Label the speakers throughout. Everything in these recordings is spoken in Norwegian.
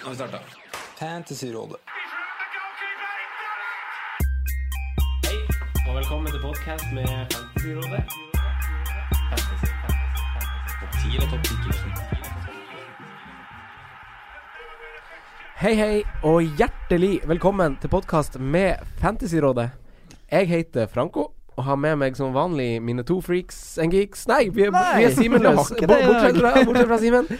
Speaker 1: Nå har vi starta. Fantasyrådet.
Speaker 2: Hei, og velkommen til podcast med Fantasyrådet. Hei, hei, og hjertelig velkommen til podcast med Fantasyrådet. Jeg heter Franco, og har med meg som vanlig mine to freaks and geeks. Nei, vi er, vi er Simenløs.
Speaker 3: det var ikke det i
Speaker 2: Bort- Bortsett
Speaker 3: dag.
Speaker 2: fra, bortsett fra Simen.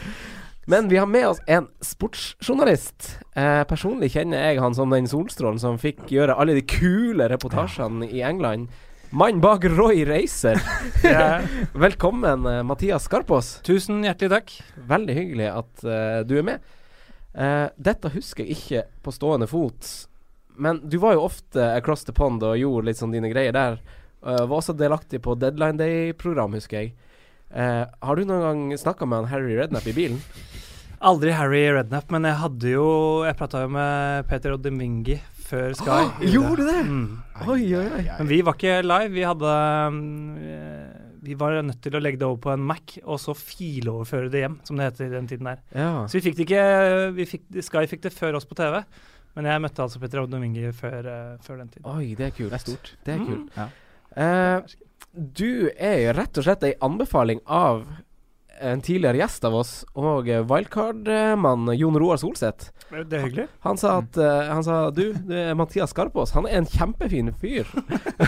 Speaker 2: Men vi har med oss en sportsjournalist. Eh, personlig kjenner jeg han som den solstrålen som fikk gjøre alle de kule reportasjene i England. Mann bak Roy Racer. Velkommen, eh, Mathias Skarpaas.
Speaker 3: Tusen hjertelig takk.
Speaker 2: Veldig hyggelig at eh, du er med. Eh, dette husker jeg ikke på stående fot, men du var jo ofte across the pond og gjorde litt sånn dine greier der. Eh, var også delaktig på Deadline Day-program, husker jeg. Eh, har du noen gang snakka med han Harry Rednap i bilen?
Speaker 3: Aldri Harry Rednap, men jeg hadde jo Jeg prata jo med Peter Oddemingi før Sky.
Speaker 2: Ah, gjorde du det?
Speaker 3: Mm.
Speaker 2: Oi, oi, oi.
Speaker 3: Men vi var ikke live. Vi hadde mm, eh, Vi var nødt til å legge det over på en Mac, og så filoverføre det hjem, som det heter i den tiden der.
Speaker 2: Ja.
Speaker 3: Så vi fikk det ikke vi fikk, Sky fikk det før oss på TV, men jeg møtte altså Peter Oddemingi før, eh, før den tid.
Speaker 2: Oi, det er kult. Det er stort. Det er
Speaker 3: Mm.
Speaker 2: kult.
Speaker 4: Ja.
Speaker 2: Eh, du er jo rett og slett ei anbefaling av en tidligere gjest av oss og eh, wildcard-mann Jon Roar Solseth.
Speaker 3: Det er hyggelig.
Speaker 2: Han sa at eh, Han sa du, det er Mathias Skarpaas, han er en kjempefin fyr.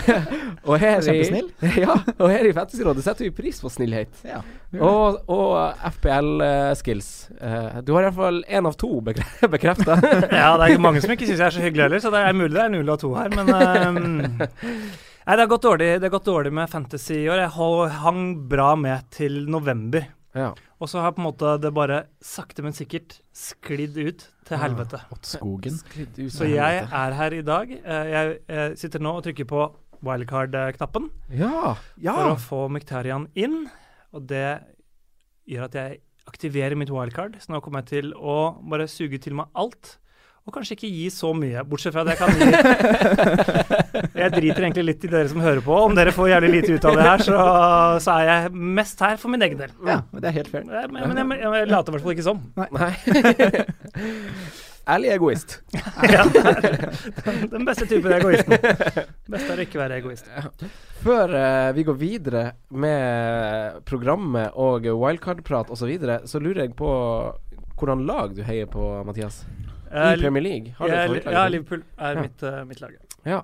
Speaker 2: og her i
Speaker 4: Kjempesnill.
Speaker 2: ja, og her i Fantasyrådet setter vi pris på snillhet.
Speaker 4: Ja.
Speaker 2: Og, og eh, FPL-skills. Eh, du har iallfall én av to bekrefta.
Speaker 3: Ja, det er ikke mange som ikke syns jeg er så hyggelig heller, så det er mulig det er null av to her, men ehm, Nei, det har gått dårlig, det har gått dårlig med fantasy i år. Jeg ho- hang bra med til november.
Speaker 2: ja.
Speaker 3: Og så har på en måte det bare sakte, men sikkert sklidd ut til helvete.
Speaker 4: Skogen.
Speaker 2: Skridd ut
Speaker 3: Så
Speaker 2: av
Speaker 3: jeg
Speaker 2: helvete.
Speaker 3: er her i dag. Eh, Jeg eh, sitter nå og trykker på wildcard-knappen
Speaker 2: Ja.
Speaker 3: for å få Mektarian inn, og det gjør at jeg aktiverer mitt wildcard, så nå kommer jeg til å bare suge til meg alt, og kanskje ikke gi så mye, bortsett fra at jeg kan gi Jeg driter egentlig litt i dere som hører på, om dere får jævlig lite ut av det her, så, så er jeg mest her for min egen del.
Speaker 4: Ja, men det er helt fair.
Speaker 3: Men jeg, men jeg, jeg, jeg later i hvert fall ikke som.
Speaker 2: Nei. Ærlig egoist.
Speaker 3: Ja, det er den beste typen egoisten. Best er å ikke være egoist.
Speaker 2: Før eh, vi går videre med programmet og wildcard-prat osv., så, videre, så lurer jeg på hvordan lag du heier på, Mathias? I
Speaker 3: Eh,
Speaker 2: Premier League? Har du et
Speaker 3: jeg,
Speaker 2: favorittlag?
Speaker 3: ja, Liverpool er
Speaker 2: Ja.
Speaker 3: mitt, eh, mitt lag.
Speaker 2: Ja.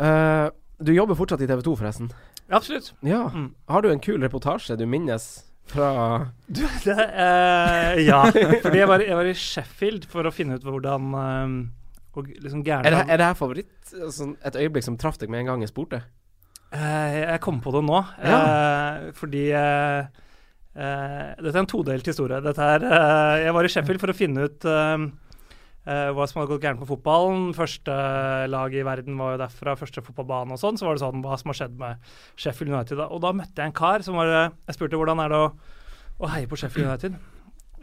Speaker 2: Eh, du jobber fortsatt i TV 2, forresten.
Speaker 3: Ja, Absolutt.
Speaker 2: Ja.
Speaker 3: Mm.
Speaker 2: Har du en kul reportasje du minnes fra
Speaker 3: Det, eh, ja, fordi jeg var, jeg var i Sheffield for å finne ut hvordan eh, og liksom
Speaker 2: Er det,
Speaker 3: gærne
Speaker 2: er det her favoritt? Sånn, et øyeblikk som traff deg med en gang jeg spurte?
Speaker 3: Eh, Jeg kom på det nå, eh, fordi eh, eh, Dette er en todelt historie. Dette er, eh, jeg var i Sheffield for å finne ut eh, eh, hva som hadde gått gærent med fotballen. Første eh, lag i verden var jo derfra, første fotballbane og sånn. Så var det sånn hva som har skjedd med Sheffield United. da. Og da møtte jeg en kar som var eh, Jeg spurte hvordan er det å, å heie på Sheffield United.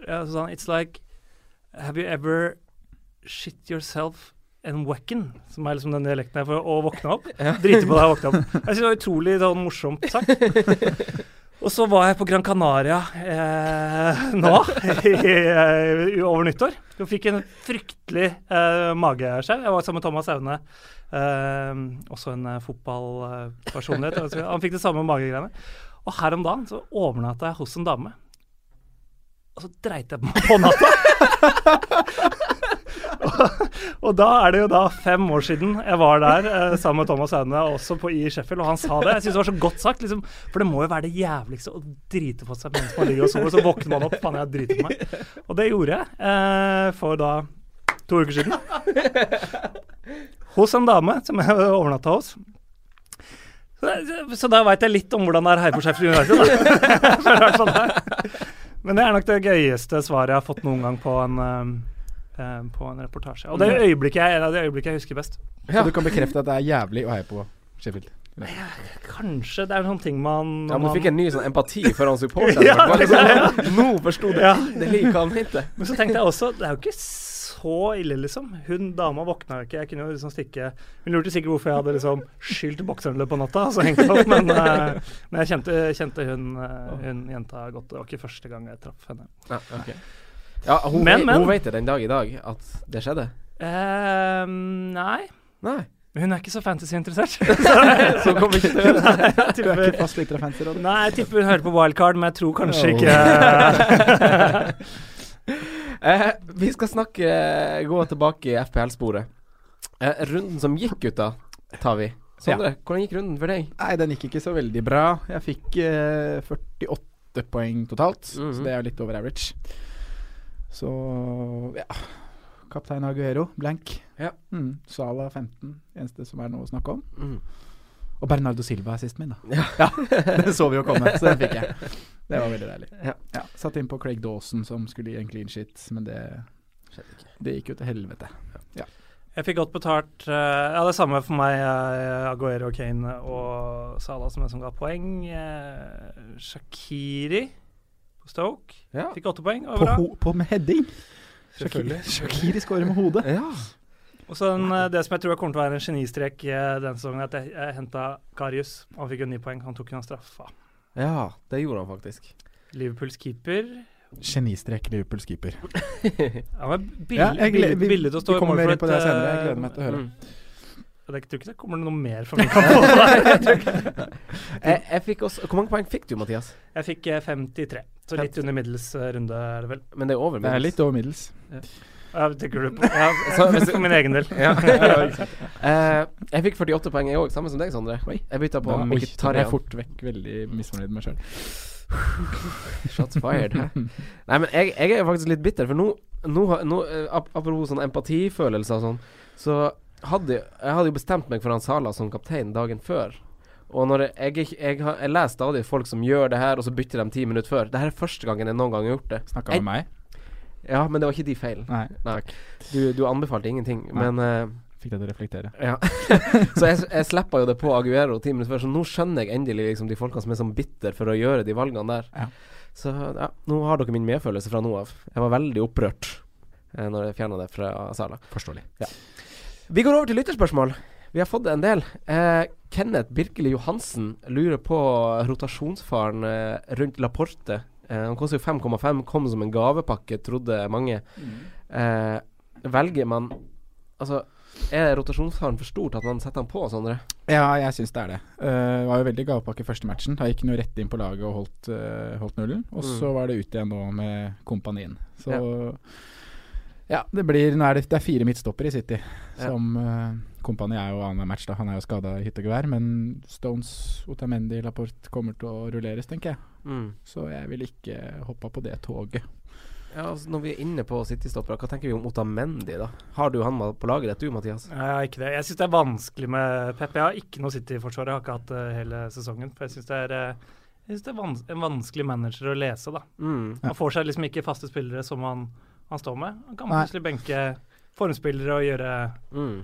Speaker 3: Ja, så sa han It's like Have you ever shit yourself and wacken? Som er liksom den dialekten her for å våkne opp. Drite på deg og våkne opp. Jeg synes det var utrolig sånn morsomt sagt. Og så var jeg på Gran Canaria eh, nå, i, eh, over nyttår. Og fikk en fryktelig eh, mageskjell. Jeg var sammen med Thomas Aune, eh, også en eh, fotballpersonlighet. Altså, Han fikk det samme magegreiene. Og her om dagen så overnatta jeg hos en dame. Og så dreit jeg på meg på natta. Og da er det jo da fem år siden jeg var der eh, sammen med Thomas Aune, også på i Sheffield, og han sa det. Jeg syns det var så godt sagt, liksom. For det må jo være det jævligste å drite på seg mens man ligger og sover, så våkner man opp, faen, jeg driter på meg. Og det gjorde jeg eh, for da to uker siden. Hos en dame som jeg overnatta hos. Så, så da veit jeg litt om hvordan det er her på Sheffield United, da. For det er sånn der. Men det er nok det gøyeste svaret jeg har fått noen gang på en eh, eh, på en reportasje. Og det
Speaker 2: Mm.
Speaker 3: er øyeblikket jeg, eller det øyeblikket jeg husker best.
Speaker 2: Ja.
Speaker 4: Så du kan bekrefte at det er jævlig å heie på Sheffield.
Speaker 3: Kanskje det er sånne ting man
Speaker 2: Ja, men
Speaker 3: man-
Speaker 2: Du fikk en ny sånn empati for han supporteren.
Speaker 3: Ja,
Speaker 2: Det var litt
Speaker 3: ja.
Speaker 2: sånn, Nå forsto du!
Speaker 3: Ja.
Speaker 2: Det liker han ikke.
Speaker 3: Men så tenkte jeg også, det er jo ikke så ille, liksom. Hun dama våkna jo ikke, jeg kunne jo liksom stikke Hun lurte sikkert hvorfor jeg hadde liksom skylt bokseren løpet på natta, og så hengte jeg opp, men, eh, men jeg kjente, kjente hun, eh, hun jenta godt. Det var ikke første gang jeg traff henne.
Speaker 2: Ja, ok Ja, hun,
Speaker 3: Men,
Speaker 2: vei-
Speaker 3: men.
Speaker 2: hun vet det den dag i dag, at det skjedde.
Speaker 3: Eh, nei,
Speaker 2: Nei.
Speaker 3: hun er ikke så fantasy-interessert.
Speaker 2: Så hun kommer ikke til å gjøre det.
Speaker 3: Jeg
Speaker 4: Du er
Speaker 3: tipper-
Speaker 4: ikke fast lytter av fancy råd?
Speaker 3: Nei, jeg tipper hun hører på wildcard, men jeg tror kanskje
Speaker 4: Oh.
Speaker 3: ikke
Speaker 2: Eh, vi skal snakke Gå tilbake i FPL-sporet. Eh, runden som gikk, gutta, tar vi. Sondre, hvordan gikk runden for deg?
Speaker 4: Nei, den gikk ikke så veldig bra. Jeg fikk eh, 48 poeng totalt,
Speaker 2: Mhm.
Speaker 4: så det er jo litt over average. Så ja. Kaptein Aguero, blank.
Speaker 2: Ja.
Speaker 4: Mm, Sala 15, eneste som er noe å snakke om.
Speaker 2: Mm.
Speaker 4: Og Bernardo Silva er sist min, da.
Speaker 2: Ja.
Speaker 4: Den så vi jo komme, så den fikk jeg. Det var veldig deilig.
Speaker 2: Ja.
Speaker 4: satt inn på Craig Dawson, som skulle gi en clean shit, men det,
Speaker 2: Skjedde ikke.
Speaker 4: det gikk jo til helvete.
Speaker 3: Jeg fikk godt betalt eh, Ja, det samme for meg. eh, Aguero, Kane og Salah som en som ga poeng. Eh, Shakiri på Stoke
Speaker 2: Ja.
Speaker 3: fikk åtte poeng. og
Speaker 4: På,
Speaker 3: bra.
Speaker 4: ho på med heading!
Speaker 3: Selvfølgelig.
Speaker 4: Shakiri scorer med hodet.
Speaker 2: Ja.
Speaker 3: Og så den, eh, det som jeg tror kommer til å være en genistrek eh, denne sesongen, er at jeg, jeg henta Karius. Han fikk jo ni poeng. Han tok jo en straffa.
Speaker 2: ja, det gjorde han faktisk.
Speaker 3: Liverpools keeper
Speaker 4: Genistrek Liverpools keeper.
Speaker 3: Han var billig,
Speaker 4: Ja, jeg gleder- vi-
Speaker 3: billig, billig til å stå
Speaker 4: vi
Speaker 3: i
Speaker 4: kommer
Speaker 3: mål
Speaker 4: mer
Speaker 3: for
Speaker 4: inn på
Speaker 3: et,
Speaker 4: det senere. Jeg
Speaker 3: eh,
Speaker 4: gleder meg til å høre.
Speaker 2: Mm.
Speaker 3: Jeg tror ikke det kommer noe mer fra min kamp.
Speaker 2: Jeg, jeg fikk også Hvor mange poeng fikk du, Mathias?
Speaker 3: Jeg fikk eh, 53, så litt under middels eh, runde er det vel.
Speaker 2: Men det er over.
Speaker 4: Det er
Speaker 2: minus.
Speaker 4: litt over middels.
Speaker 3: Ja, tenker du på ja,
Speaker 2: Så hvis-
Speaker 3: For min egen del.
Speaker 2: Ja. Eh, jeg fikk 48 poeng, jeg òg. Samme som deg, Sondre.
Speaker 4: Oi.
Speaker 2: Jeg bytta på
Speaker 4: Da oi, da ble
Speaker 2: Mkhitaryan.
Speaker 4: jeg fort vekk veldig misfornøyd med meg sjøl.
Speaker 2: Shots fired. hæ? Nei, men jeg, jeg er jo faktisk litt bitter, for nå, nå, har- nå eh, ap Apropos sånn empatifølelse og sånn, så hadde jeg- jeg hadde jo bestemt meg for han Sala som kaptein dagen før. Og når jeg, jeg, jeg, har- jeg leser stadig folk som gjør det her, og så bytter de ti minutter før. Det her er første gangen jeg noen gang har gjort det.
Speaker 4: Snakka med meg?
Speaker 2: Ja, men det var ikke de feilen.
Speaker 4: Nei.
Speaker 2: Nei. Du, du anbefalte ingenting,
Speaker 4: Nei.
Speaker 2: men eh,
Speaker 4: Fikk deg til å reflektere.
Speaker 2: Ja. så jeg, jeg slippa jo det på Aguero ti minutter før, så nå skjønner jeg endelig liksom de folkene som er sånn bitter for å gjøre de valgene der.
Speaker 4: Ja.
Speaker 2: Så ja, nå har dere min medfølelse fra nå av. Jeg var veldig opprørt eh, når jeg fjerna det fra Sala.
Speaker 4: Forståelig.
Speaker 2: Vi går over til lytterspørsmål. Vi har fått en del. Eh, Kenneth Birkeli Johansen lurer på rotasjonsfaren eh, rundt Laporte. Eh, han koster jo 5,5, kom som en gavepakke, trodde mange.
Speaker 4: Mm.
Speaker 2: Eh, velger man Altså, er rotasjonsfaren for stor til at man setter han på, sånn Sondre?
Speaker 4: Ja, jeg syns det er det. Eh, Det var jo veldig gavepakke første matchen. Da gikk han jo rett inn på laget og holdt, eh, holdt nullen. Og så var det ut igjen nå med kompanien. Så ja. det blir Nå er det, det er fire midtstoppere i City.
Speaker 2: Ja.
Speaker 4: Som eh, Kompani er jo annenhver match, da. Han er jo skada i hytte og gevær. Men Stones, Otamendi, Laporte kommer til å rulleres, tenker jeg. Så jeg ville ikke hoppa på det toget.
Speaker 2: Ja, altså, når vi er inne på City-stoppere, hva tenker vi om Otamendi, da? Har du han på laget ditt, du, Mathias?
Speaker 3: Nei, jeg har ikke det. Jeg syns det er vanskelig med Pep. Jeg har ikke noe City-forsvar. Jeg har ikke hatt det hele sesongen. For jeg syns det er, eh, jeg synes det er vans en vanskelig manager å lese, da.
Speaker 2: Mm.
Speaker 3: Han får seg liksom ikke faste spillere som han, han står med. Han kan
Speaker 4: Nei.
Speaker 3: plutselig benke formspillere og gjøre
Speaker 2: Mm.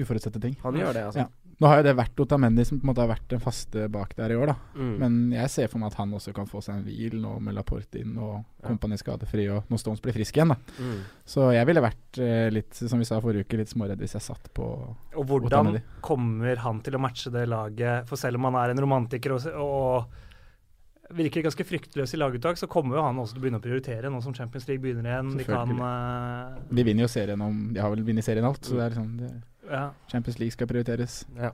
Speaker 4: Uforutsette ting.
Speaker 2: Han gjør det, altså.
Speaker 4: Ja. Nå har jo det vært Otamendi som på en måte har vært den faste bak der i år, da.
Speaker 2: Mm.
Speaker 4: Men jeg ser for meg at han også kan få seg en hvil nå med Laporte inn og
Speaker 2: Ja.
Speaker 4: Kompani skadefri og når Stones blir frisk igjen, da.
Speaker 2: Mm.
Speaker 4: Så jeg ville vært eh, litt, som vi sa forrige uke, litt småredd hvis jeg satt på
Speaker 3: Og hvordan
Speaker 4: Otamendi.
Speaker 3: kommer han til å matche det laget? For selv om han er en romantiker og, og virker ganske fryktløs i laguttak, så kommer jo han også til å begynne å prioritere nå som Champions League begynner igjen. De kan eh,
Speaker 4: Vi vinner jo serien om De har vel vunnet serien alt, så det er liksom det,
Speaker 3: ja.
Speaker 4: Champions League skal prioriteres.
Speaker 2: Ja.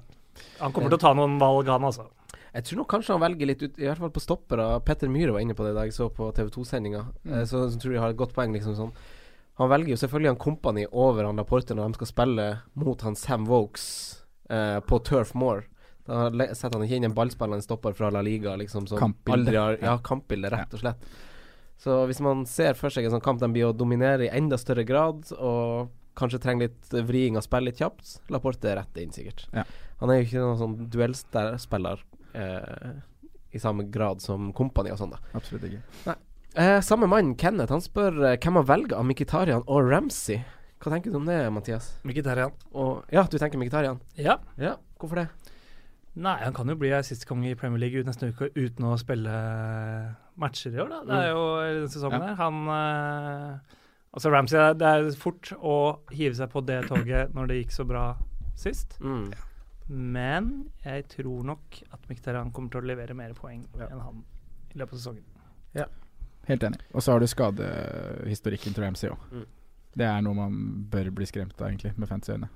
Speaker 3: Han kommer til å ta noen valg, han altså.
Speaker 2: Jeg tror nok kanskje han velger litt ut, i hvert fall på stoppere. Petter Myhre var inne på det da jeg så på TV2-sendinga,
Speaker 4: Mm.
Speaker 2: eh, så, så tror jeg har et godt poeng, liksom sånn. Han velger jo selvfølgelig han Company over han Laporte når de skal spille mot han Sam Vokes eh, på Turf Moor. Da le- setter han ikke inn en ballspiller, en stopper fra La Liga, liksom, som
Speaker 4: Kampbilde.
Speaker 2: aldri har Ja,
Speaker 4: Ja.
Speaker 2: kampbilde, rett og slett. Så hvis man ser for seg en sånn kamp de blir å dominere i enda større grad, og kanskje trenger litt eh, vriing og spille litt kjapt, Laporte er rett inn, sikkert.
Speaker 4: Ja.
Speaker 2: Han er jo ikke noen sånn duellspiller eh, i samme grad som Kompani og sånn, da.
Speaker 4: Absolutt ikke.
Speaker 2: Eh, samme mann, Kenneth, han spør eh, hvem han velger av Mkhitarian og Ramsey. Hva tenker du om det, Mathias?
Speaker 3: Mkhitaryan.
Speaker 2: Og, ja, du tenker Mkhitarian?
Speaker 3: Ja.
Speaker 2: Ja, hvorfor det?
Speaker 3: Nei, han kan jo bli assistkonge i Premier League ut neste uke uten å spille matcher i år, da. Det er jo eller denne sesongen her. Han eh, Altså Ramsey, det er- det er fort å hive seg på det toget når det gikk så bra sist.
Speaker 2: Mm.
Speaker 3: Men jeg tror nok at Mkhitaryan kommer til å levere mer poeng enn han i løpet av sesongen.
Speaker 4: helt enig. Og så har du skadehistorikken til Ramsey òg.
Speaker 2: Mm.
Speaker 4: Det er noe man bør bli skremt av, egentlig, med fancy-øyne.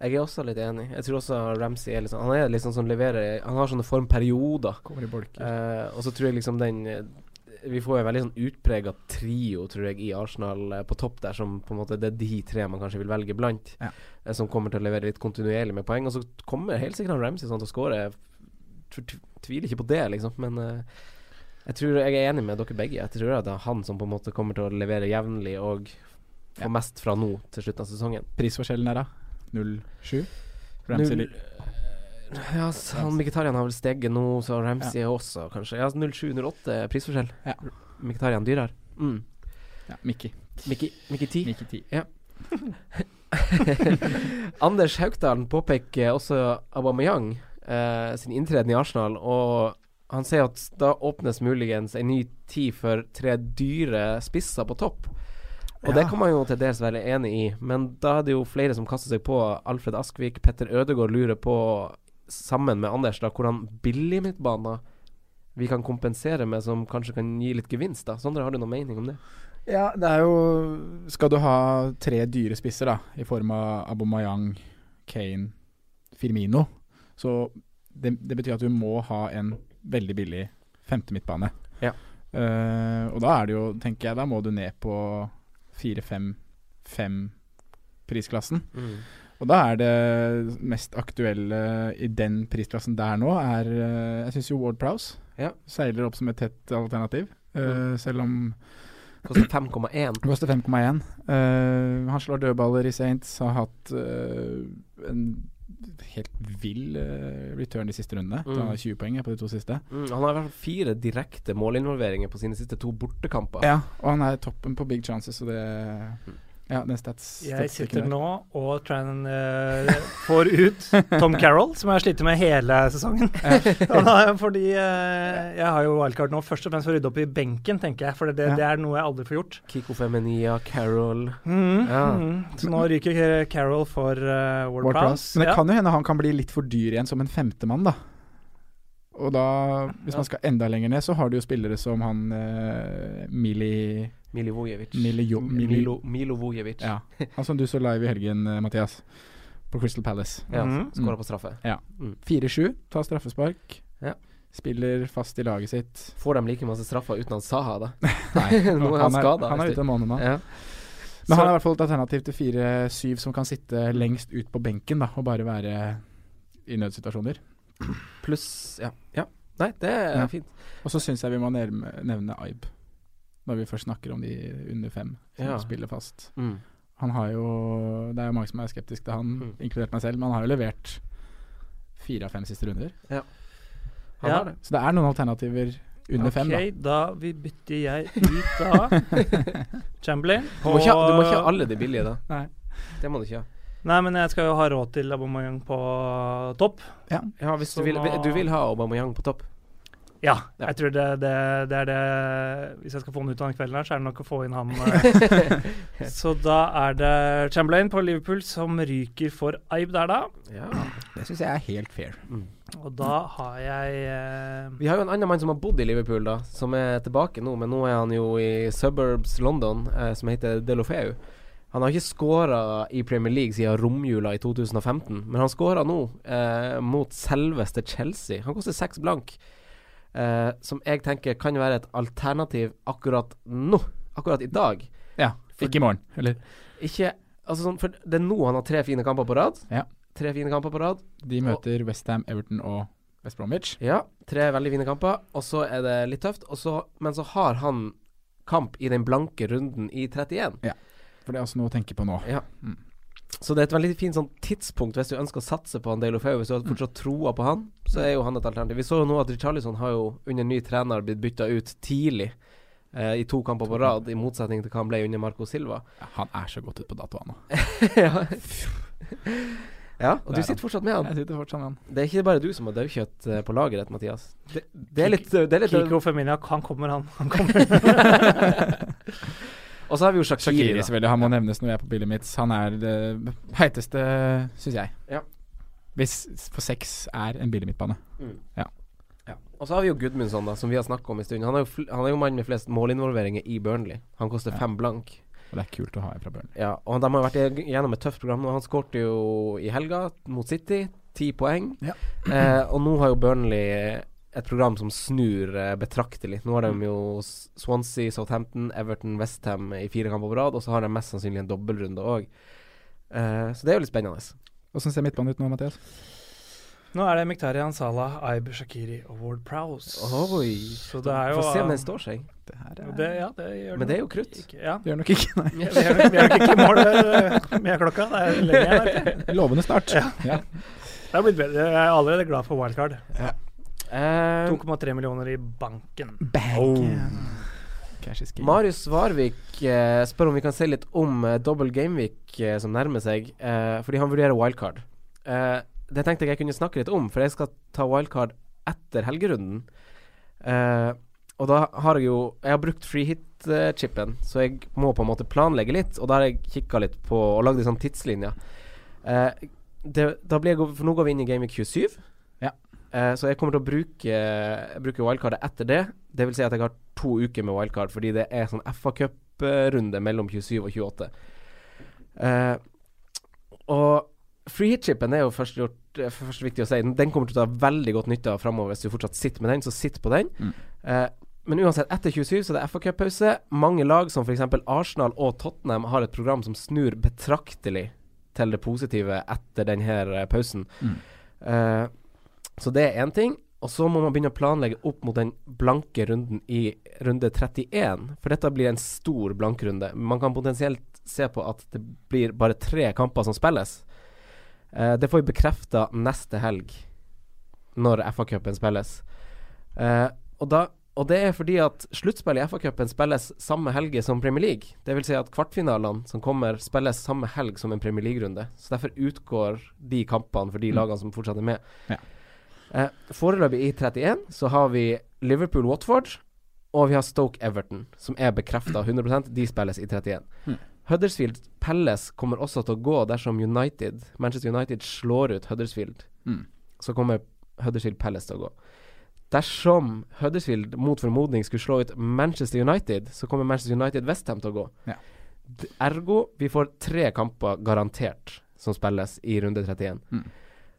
Speaker 2: Jeg er også litt enig. Jeg tror også Ramsey er litt sånn Han er litt sånn som leverer Han har sånne formperioder.
Speaker 4: Kommer i bolker.
Speaker 2: Eh, og så tror jeg liksom den eh, Vi får jo en veldig sånn utprega trio, tror jeg, i Arsenal eh, på topp der, som på en måte det er de tre man kanskje vil velge blant,
Speaker 4: Ja.
Speaker 2: eh, som kommer til å levere litt kontinuerlig med poeng. Og så kommer helt sikkert han Ramsey sånn til å skåre. Jeg tv- tv- tviler ikke på det, liksom, men eh, jeg tror jeg er enig med dere begge. Jeg tror at det er han som på en måte kommer til å levere jevnlig og få
Speaker 4: Ja.
Speaker 2: mest fra nå til slutten av sesongen.
Speaker 4: Prisforskjellen er da 0,7. Ramsey
Speaker 2: Null-
Speaker 4: ligger-
Speaker 2: Ja, s- han Mkhitaryan har vel steget nå, så Ramsey også, kanskje. Ja, 07-08 er prisforskjell.
Speaker 4: Ja.
Speaker 2: Mkhitaryan dyrere. Mm.
Speaker 4: Ja, Mikki.
Speaker 2: Mikki Mikki 10.
Speaker 4: Mikki 10.
Speaker 2: Anders Haugdalen påpeker også Aubameyang eh, sin inntreden i Arsenal, og han sier at da åpnes muligens en ny tid for tre dyre spisser på topp. Og det
Speaker 4: Ja.
Speaker 2: kan man jo til dels være enig i, men da er det jo flere som kaster seg på Alfred Askvik. Petter Ødegaard lurer på, sammen med Anders, da, hvordan billig midtbaner vi kan kompensere med, som kanskje kan gi litt gevinst. da Sondre, har du noen mening om det?
Speaker 4: Ja, det er jo Skal du ha tre dyre spisser, da, i form av Abomayang, Kane, Firmino, så det, det betyr at du må ha en veldig billig femte midtbane.
Speaker 2: Ja.
Speaker 4: Eh, og da er det jo, tenker jeg, da må du ned på fire-fem-fem-prisklassen. Og da er det mest aktuelle i den prisklassen der nå, er eh, Jeg syns jo Ward Prowse
Speaker 2: Ja.
Speaker 4: seiler opp som et tett alternativ. eh,
Speaker 2: Mm.
Speaker 4: Selv om
Speaker 2: Koster 5,1.
Speaker 4: det Koster 5,1. Eh, han slår dødballer i Saints. Har hatt eh, en helt vill eh, return de siste rundene.
Speaker 2: Mm.
Speaker 4: Da har 20 poeng på de to siste.
Speaker 2: Mm, han har i hvert fall fire direkte målinvolveringer på sine siste to bortekamper.
Speaker 4: Ja, og han er i toppen på big chances, så det Ja, den stats
Speaker 3: Jeg sitter
Speaker 4: statistikken der.
Speaker 3: nå og tran, eh, får ut Tom Carroll, som jeg har slitt med hele sesongen. Og da- Fordi eh, jeg har jo wildcard nå først og fremst for å rydde opp i benken, tenker jeg. For det,
Speaker 4: Ja.
Speaker 3: det er noe jeg aldri får gjort.
Speaker 2: Kiko Feminia, Carol
Speaker 4: Mm-hmm.
Speaker 3: Mhm,
Speaker 2: Ja.
Speaker 3: mhm. Så nå ryker Carroll for uh, Ward
Speaker 4: Ward-Prowse.
Speaker 3: Prowse.
Speaker 4: Men det
Speaker 3: Ja.
Speaker 4: kan jo hende han kan bli litt for dyr igjen som en femtemann, da. Og da, hvis
Speaker 3: Ja.
Speaker 4: man skal enda lenger ned, så har du jo spillere som han eh, Mili,
Speaker 2: Milivojevic.
Speaker 4: Mili, jo,
Speaker 2: M-
Speaker 4: Mili
Speaker 2: Milo, Milovojevic.
Speaker 4: Ja. Han som du så live i helgen, eh, Mathias. På Crystal Palace.
Speaker 2: Ja,
Speaker 3: Mhm.
Speaker 2: Skåra på straffe.
Speaker 4: 4-7, tar straffespark.
Speaker 2: Ja.
Speaker 4: Spiller fast i laget sitt.
Speaker 2: Får de like masse straffer uten han Saha, da?
Speaker 4: Nei,
Speaker 2: Nå er han skadet,
Speaker 4: Han er
Speaker 2: visst.
Speaker 4: ute en måned nå.
Speaker 2: Ja.
Speaker 4: Men
Speaker 2: Så-
Speaker 4: han er i hvert fall et alternativ til 4-7, som kan sitte lengst ut på benken da, og bare være i nødsituasjoner.
Speaker 2: Pluss Ja. ja. Nei, det er
Speaker 4: Ja.
Speaker 2: fint.
Speaker 4: Og så syns jeg vi må nærme, nevne Aib, når vi først snakker om de under fem som
Speaker 2: Ja.
Speaker 4: spiller fast.
Speaker 2: Mm.
Speaker 4: Han har jo Det er jo mange som er skeptiske til han,
Speaker 2: Mm.
Speaker 4: inkludert meg selv, men han har jo levert fire av fem siste runder.
Speaker 2: Han
Speaker 3: Ja.
Speaker 2: har det.
Speaker 4: Så det er noen alternativer under fem, da.
Speaker 3: Ok, da vi bytter jeg ut da Chamberlain.
Speaker 2: Du må, ikke, ha- du må ikke ha
Speaker 3: og-
Speaker 2: alle de billige, da.
Speaker 4: Nei.
Speaker 2: Det må du ikke ha.
Speaker 3: Nei, men jeg skal jo ha råd til Aubameyang på topp.
Speaker 2: Ja, hvis du
Speaker 3: Så
Speaker 2: vil,
Speaker 3: da-
Speaker 2: du vil ha Aubameyang på topp.
Speaker 3: Ja,
Speaker 2: Ja.
Speaker 3: jeg tror det, det, det er det Hvis jeg skal få han ut av den kvelden her, så er det nok å få inn han. eh. så da er det Chamberlain på Liverpool som ryker for Aib der, da.
Speaker 2: Ja.
Speaker 4: Det syns jeg er helt fair.
Speaker 3: Og da har jeg eh,
Speaker 2: Vi har jo en annen mann som har bodd i Liverpool, da, som er tilbake nå, men nå er han jo i suburbs London, eh, som heter Delofeu. Han har ikke skåra i Premier League siden romjula i 2015, men han skåra nå eh, mot selveste Chelsea. Han koster seks blank, eh, som jeg tenker kan være et alternativ akkurat nå, akkurat i dag.
Speaker 4: Ja, ikke i morgen. Eller
Speaker 2: Ikke Altså sånn, for det er nå han har tre fine kamper på rad.
Speaker 4: Ja.
Speaker 2: Tre fine kamper på rad.
Speaker 4: De møter Westham, Everton og West Bromwich.
Speaker 2: Ja, tre veldig fine kamper, og så er det litt tøft. Og så, men så har han kamp i den blanke runden i 31.
Speaker 4: For det er også noe å tenke på nå.
Speaker 2: Så det er et veldig fint sånn tidspunkt hvis du ønsker å satse på han Dale Ofeu. Hvis du har fortsatt troa på han, så er jo han et alternativ. Vi så jo nå at Richarlison har jo under ny trener blitt bytta ut tidlig. eh, I to kamper på rad, i motsetning til hva han ble under Marco Silva.
Speaker 4: Ja, han er så godt ut på dato, han nå.
Speaker 2: ja. ja, og du
Speaker 4: Der, da.
Speaker 2: sitter fortsatt med han.
Speaker 4: Jeg sitter fortsatt med han.
Speaker 2: Det er ikke bare du som har daukjøtt eh, på lageret, Mathias. Det, det er litt, det er litt
Speaker 3: Kiko Feminia. Han kommer, han. han kommer.
Speaker 2: Og så har vi jo Shakiri.
Speaker 4: Shakiri,
Speaker 2: da.
Speaker 4: selvfølgelig. Han må nevnes når vi er på bildet mitt. Han er det heiteste, syns jeg.
Speaker 2: Ja.
Speaker 4: Hvis for seks er en billig midtbane.
Speaker 2: Mm. Og så har vi jo Gudmundsson, da, som vi har snakka om en stund. Han er jo, fl- han er jo mannen med flest målinvolveringer i Burnley. Han koster
Speaker 4: Ja.
Speaker 2: fem blank.
Speaker 4: Og det er kult å ha en fra Burnley.
Speaker 2: Ja, og de har vært ig- gjennom et tøft program. nå. Han skårte jo i helga mot City, ti poeng.
Speaker 4: Ja.
Speaker 2: Eh, og nå har jo Burnley et program som snur eh, betraktelig. Nå har de jo S- Swansea, Southampton, Everton, Westham i fire kamper på rad, og så har de mest sannsynlig en dobbeltrunde òg. Eh, så det er jo litt spennende.
Speaker 4: Åssen ser midtbanen ut nå, Mathias?
Speaker 3: Nå er det Miktarian Salah, Aib Shakiri og Ward Prowse.
Speaker 2: Oi.
Speaker 3: Så det er jo eh,
Speaker 2: Få se om den står seg.
Speaker 4: Det her
Speaker 3: Det, ja, det gjør
Speaker 2: Men
Speaker 3: den
Speaker 2: det er jo krutt.
Speaker 3: Ikke, ja.
Speaker 4: Det gjør nok ikke, nei.
Speaker 3: Vi er nok- vi er nok ikke i mål eh, med klokka. Det er lenge igjen. vet du.
Speaker 4: Lovende start. Ja.
Speaker 3: Det har blitt bedre. Jeg er allerede glad for wildcard.
Speaker 2: Eh,
Speaker 3: 2,3 millioner i banken.
Speaker 2: Oh.
Speaker 4: Cash is king.
Speaker 2: Marius Svarvik eh, spør om vi kan si litt om eh, dobbel gameweek eh, som nærmer seg, eh, fordi han vurderer wildcard. Eh, det tenkte jeg jeg kunne snakke litt om, for jeg skal ta wildcard etter helgerunden. Eh, og da har jeg jo Jeg har brukt free hit-chipen, så jeg må på en måte planlegge litt, og da har jeg kikka litt på og lagd en sånn tidslinje. Eh, det, da blir jeg, for nå går vi inn i gameweek 27.
Speaker 4: Ja.
Speaker 2: Eh, så jeg kommer til å bruke, bruke wildcardet etter det. Det vil si at jeg har to uker med wildcard, fordi det er sånn FA-cuprunde mellom 27 og 28. Eh, og free hit-chipen er jo først, gjort, eh, først viktig å si. Den- Den kommer til å ta veldig godt nytte av framover hvis du fortsatt sitter med den, så sitt på den.
Speaker 4: Mm.
Speaker 2: Eh, men uansett, etter 27 så er det FA-cup-pause. Mange lag som f.eks. Arsenal og Tottenham har et program som snur betraktelig til det positive etter denne pausen.
Speaker 4: Mm.
Speaker 2: Eh, så det er én ting. Og så må man begynne å planlegge opp mot den blanke runden i runde 31. For dette blir en stor blankrunde. Man kan potensielt se på at det blir bare tre kamper som spilles. Eh, det får vi bekrefta neste helg, når FA-cupen spilles. Eh, og, da, og det er fordi at sluttspillet i FA-cupen spilles samme helge som Premier League. Det vil si at kvartfinalene som kommer, spilles samme helg som en Premier League-runde. Så derfor utgår de kampene for de
Speaker 4: Mm.
Speaker 2: lagene som fortsatt er med.
Speaker 4: Ja.
Speaker 2: Eh, foreløpig i 31 så har vi Liverpool-Watford, og vi har Stoke-Everton, som er bekrefta 100 De spilles i 31.
Speaker 4: Mm.
Speaker 2: Huddersfield Palace kommer også til å gå dersom United, Manchester United slår ut Huddersfield.
Speaker 4: Mm.
Speaker 2: Så kommer Huddersfield Palace til å gå. Dersom Huddersfield mot formodning skulle slå ut Manchester United, så kommer Manchester United Westham til å gå.
Speaker 4: Ja.
Speaker 2: D- Ergo vi får tre kamper garantert som spilles i runde 31.
Speaker 4: Mm.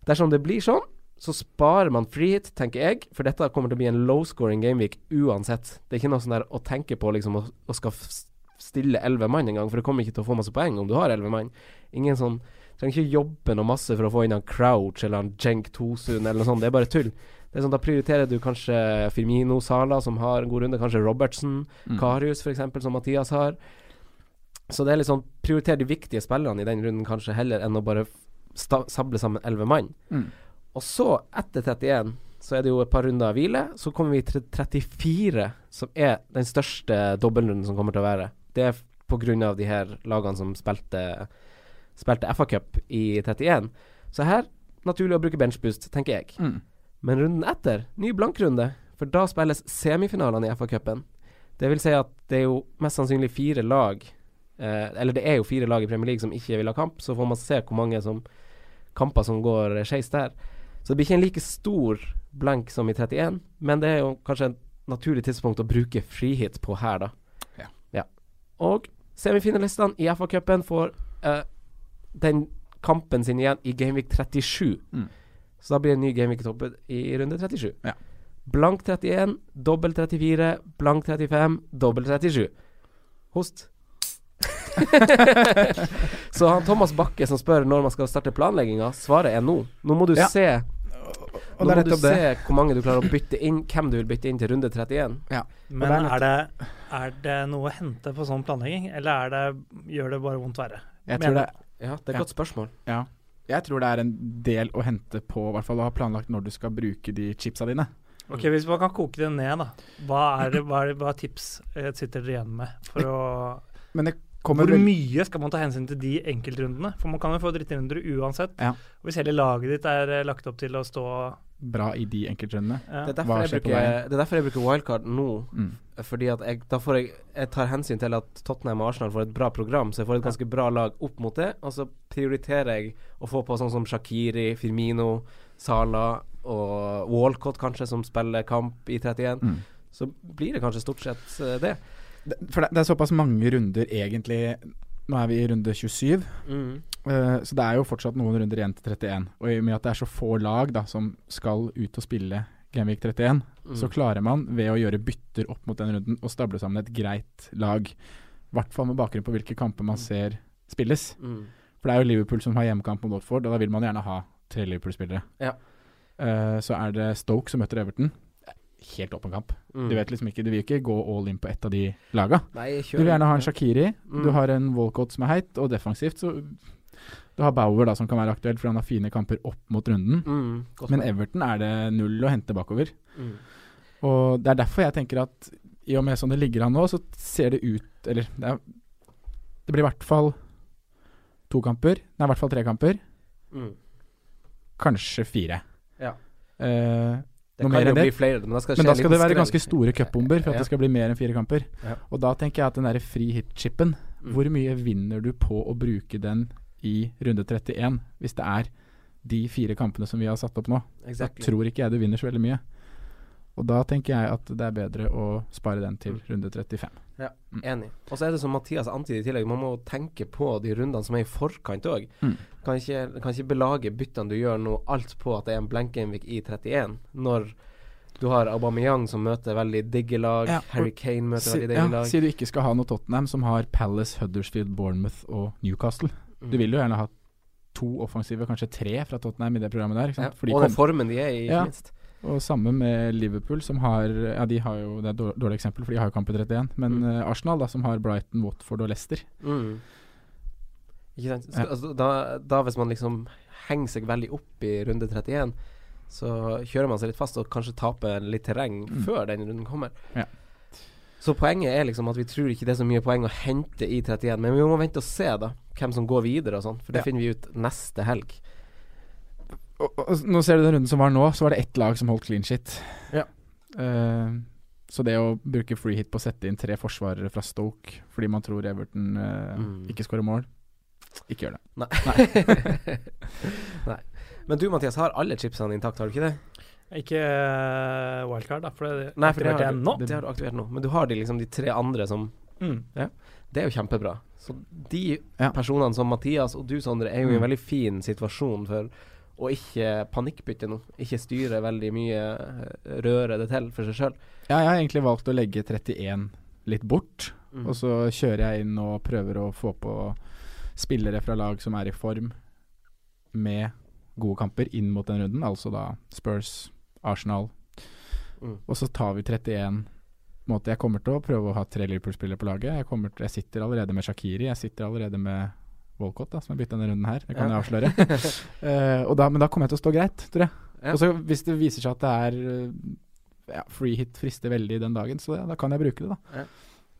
Speaker 2: Dersom det blir sånn, så sparer man frihet, tenker jeg, for dette kommer til å bli en low scoring gameweek uansett. Det er ikke noe sånn der å tenke på liksom å, å skal f- stille elleve mann engang, for du kommer ikke til å få masse poeng om du har elleve mann. Ingen sånn Trenger ikke jobbe noe masse for å få inn han Crouch eller han Jenk Tosun eller noe sånt, det er bare tull. Det er sånn, Da prioriterer du kanskje Firmino Sala, som har en god runde, kanskje Robertsen.
Speaker 4: Mm.
Speaker 2: Karius f.eks., som Mathias har. Så det er litt sånn prioriter de viktige spillerne i den runden kanskje heller enn å bare sta sable sammen elleve mann.
Speaker 4: Mm.
Speaker 2: Og så, etter 31, så er det jo et par runder av hvile. Så kommer vi til 34, som er den største dobbeltrunden som kommer til å være. Det er på grunn av de her lagene som spilte, spilte FA-cup i 31. Så her naturlig å bruke benchboost, tenker jeg.
Speaker 4: Mm.
Speaker 2: Men runden etter, ny blankrunde, for da spilles semifinalene i FA-cupen. Det vil si at det er jo mest sannsynlig fire lag eh, Eller det er jo fire lag i Premier League som ikke vil ha kamp, så får man se hvor mange som, kamper som går eh, skeis der. Så det blir ikke en like stor blank som i 31, men det er jo kanskje et naturlig tidspunkt å bruke frihit på her, da.
Speaker 4: Ja.
Speaker 2: Og semifinalistene i FA-cupen får eh, den kampen sin igjen i Gameweek 37. Så da blir det en ny Gameweek Toppet i runde 37.
Speaker 4: Ja.
Speaker 2: Blank 31, dobbel 34, blank 35, dobbel 37. Host. så han Thomas Bakke som spør når man skal starte planlegginga, svaret er nå. Nå må du
Speaker 4: Ja.
Speaker 2: se
Speaker 4: Og
Speaker 2: Nå
Speaker 4: det er
Speaker 2: må du
Speaker 4: nettopp det.
Speaker 2: se hvor mange du klarer å bytte inn, hvem du vil bytte inn til runde 31.
Speaker 3: Men
Speaker 4: det er
Speaker 3: er det, er det noe å hente på sånn planlegging, eller er det, gjør det bare vondt verre?
Speaker 4: Jeg tror det,
Speaker 2: Ja, det er et
Speaker 4: Ja.
Speaker 2: godt spørsmål.
Speaker 4: ja. jeg tror det er en del å hente på i hvert fall å ha planlagt når du skal bruke de chipsa dine.
Speaker 3: Ok, Hvis man kan koke det ned, da. Hva er, det, hva er, det, hva er tips eh, sitter dere igjen med? For å,
Speaker 4: Men det kommer
Speaker 3: hvor
Speaker 4: vel-
Speaker 3: mye skal man ta hensyn til de enkeltrundene? For man kan jo få drittrunder uansett.
Speaker 4: Ja.
Speaker 3: Og hvis hele laget ditt er eh, lagt opp til å stå
Speaker 4: bra i de enkeltrundene.
Speaker 3: ja.
Speaker 2: Det er
Speaker 4: Hva
Speaker 2: derfor, jeg
Speaker 4: skjer på
Speaker 2: bruker,
Speaker 4: veien?
Speaker 2: det er derfor jeg bruker wildcard nå.
Speaker 4: Mm.
Speaker 2: Fordi at jeg, da får jeg, jeg tar hensyn til at Tottenham og Arsenal får et bra program, så jeg får et ganske bra lag opp mot det. Og så prioriterer jeg å få på sånn som Shakiri, Firmino, Sala, og Walcott kanskje, som spiller kamp i 31,
Speaker 4: Mm.
Speaker 2: så blir det kanskje stort sett eh, det.
Speaker 4: Det- For det, det er såpass mange runder egentlig Nå er vi i runde 27, eh, så det er jo fortsatt noen runder igjen til 31. Og i og med at det er så få lag da som skal ut og spille Gameweek 31,
Speaker 2: Mm.
Speaker 4: så klarer man ved å gjøre bytter opp mot den runden og stable sammen et greit lag. I hvert fall med bakgrunn på hvilke kamper man ser spilles.
Speaker 2: Mm.
Speaker 4: For det er jo Liverpool som har hjemmekamp mot Watford, og da vil man gjerne ha tre Liverpool-spillere.
Speaker 2: Ja.
Speaker 4: Eh, så er det Stoke som møter Everton. Helt åpen kamp.
Speaker 2: Mm.
Speaker 4: Du vet liksom ikke, du vil ikke gå all in på ett av de laga.
Speaker 2: Nei,
Speaker 4: Du vil gjerne ha en Shakiri,
Speaker 2: Mm.
Speaker 4: du har en Walcott som er heit, og defensivt så Du har Bauer da som kan være aktuell, for han har fine kamper opp mot runden.
Speaker 2: Mm. Godt
Speaker 4: Men
Speaker 2: poeng.
Speaker 4: Everton er det null å hente bakover.
Speaker 2: Mm.
Speaker 4: Og det er derfor jeg tenker at i og med sånn det ligger an nå, så ser det ut Eller det, er, det blir i hvert fall to kamper. Nei, i hvert fall tre kamper.
Speaker 2: Mm.
Speaker 4: Kanskje fire.
Speaker 2: Ja.
Speaker 4: Eh,
Speaker 2: Det
Speaker 4: Noe
Speaker 2: kan
Speaker 4: mer
Speaker 2: jo
Speaker 4: enn det?
Speaker 2: bli flere, men da skal,
Speaker 4: men da skal det være ganske
Speaker 2: ganske
Speaker 4: store cupbomber for at
Speaker 2: Ja.
Speaker 4: det skal bli mer enn fire kamper.
Speaker 2: Ja.
Speaker 4: Og da tenker jeg at den derre free hit-chipen,
Speaker 2: Mm.
Speaker 4: hvor mye vinner du på å bruke den i runde 31, hvis det er de fire kampene som vi har satt opp nå? Da tror ikke jeg du vinner så veldig mye. Og da tenker jeg at det er bedre å spare den til
Speaker 2: Mm.
Speaker 4: runde 35. Mm.
Speaker 2: Enig. Og så er det som Mathias antyder i tillegg, man må tenke på de rundene som er i forkant òg.
Speaker 4: Mm.
Speaker 2: Kan, ikke- kan ikke belage byttene du gjør nå, alt på at det er en Blankenvik i 31, når du har Aubameyang som møter veldig digge lag,
Speaker 4: Ja, og
Speaker 2: Harry Kane møter
Speaker 4: Si,
Speaker 2: veldig digge
Speaker 4: ja,
Speaker 2: lag.
Speaker 4: si du ikke skal ha noe Tottenham som har Palace, Huddersfield, Bournemouth og Newcastle.
Speaker 2: Mm.
Speaker 4: Du vil jo gjerne ha to offensive, kanskje tre fra Tottenham i det programmet der. Ikke
Speaker 2: ja.
Speaker 4: sant? liksom, For de
Speaker 2: Og den
Speaker 4: kom-
Speaker 2: formen de er i, ikke
Speaker 4: Ja.
Speaker 2: minst.
Speaker 4: Og samme med Liverpool, som har Ja, de har jo, det er et dår- dårlig eksempel, for de har jo kamp i 31. Men
Speaker 2: Mm.
Speaker 4: eh, Arsenal, da, som har Brighton, Watford og Leicester.
Speaker 2: Mm. Ikke sant? Så,
Speaker 4: Ja.
Speaker 2: altså, da, da hvis man liksom henger seg veldig opp i runde 31, så kjører man seg litt fast og kanskje taper litt terreng
Speaker 4: Mm.
Speaker 2: før den runden kommer.
Speaker 4: Ja.
Speaker 2: Så poenget er liksom at vi tror ikke det er så mye poeng å hente i 31, men vi må vente og se da hvem som går videre og sånn, for
Speaker 4: Ja.
Speaker 2: det finner vi ut neste helg.
Speaker 4: Og, og, s- nå ser du den runden som var nå, så var det ett lag som holdt clean shit.
Speaker 2: Ja.
Speaker 4: Eh, så det å bruke free hit på å sette inn tre forsvarere fra Stoke fordi man tror Everton eh,
Speaker 2: Mm.
Speaker 4: ikke skårer mål, ikke gjør det.
Speaker 2: Nei. Men du Mathias, har alle chipsene intakte, har du ikke det?
Speaker 3: Ikke eh, wildcard, da, for det
Speaker 2: Nei,
Speaker 3: har
Speaker 2: for
Speaker 3: ikke
Speaker 2: det
Speaker 3: vært
Speaker 2: har,
Speaker 3: igjen
Speaker 2: du,
Speaker 3: nå. Mm.
Speaker 2: det har du aktivert nå. Men du har de, liksom, de tre andre som Det er jo kjempebra. Så de
Speaker 4: Ja.
Speaker 2: personene som Mathias og du, Sondre, er jo i en
Speaker 4: Mm.
Speaker 2: veldig fin situasjon for å ikke panikkbytte nå. Ikke styre veldig mye, eh, røre det til for seg sjøl.
Speaker 4: Ja, jeg har egentlig valgt å legge 31 litt bort,
Speaker 2: Mm.
Speaker 4: og så kjører jeg inn og prøver å få på spillere fra lag som er i form, med gode kamper inn mot den runden, altså da Spurs, Arsenal.
Speaker 2: Mm.
Speaker 4: Og så tar vi 31 på en måte Jeg kommer til å prøve å ha tre Liverpool-spillere på laget. Jeg, kommer til, jeg sitter allerede med Shakiri, jeg sitter allerede med Walcott, da, som jeg bytta denne runden her. Det kan
Speaker 2: Ja.
Speaker 4: jeg avsløre. Eh, og da, men da kommer jeg til å stå greit, tror jeg.
Speaker 2: Ja.
Speaker 4: Og så hvis det viser seg at det er eh, ja, free hit frister veldig den dagen, så ja, da kan jeg bruke det, da.
Speaker 2: Ja.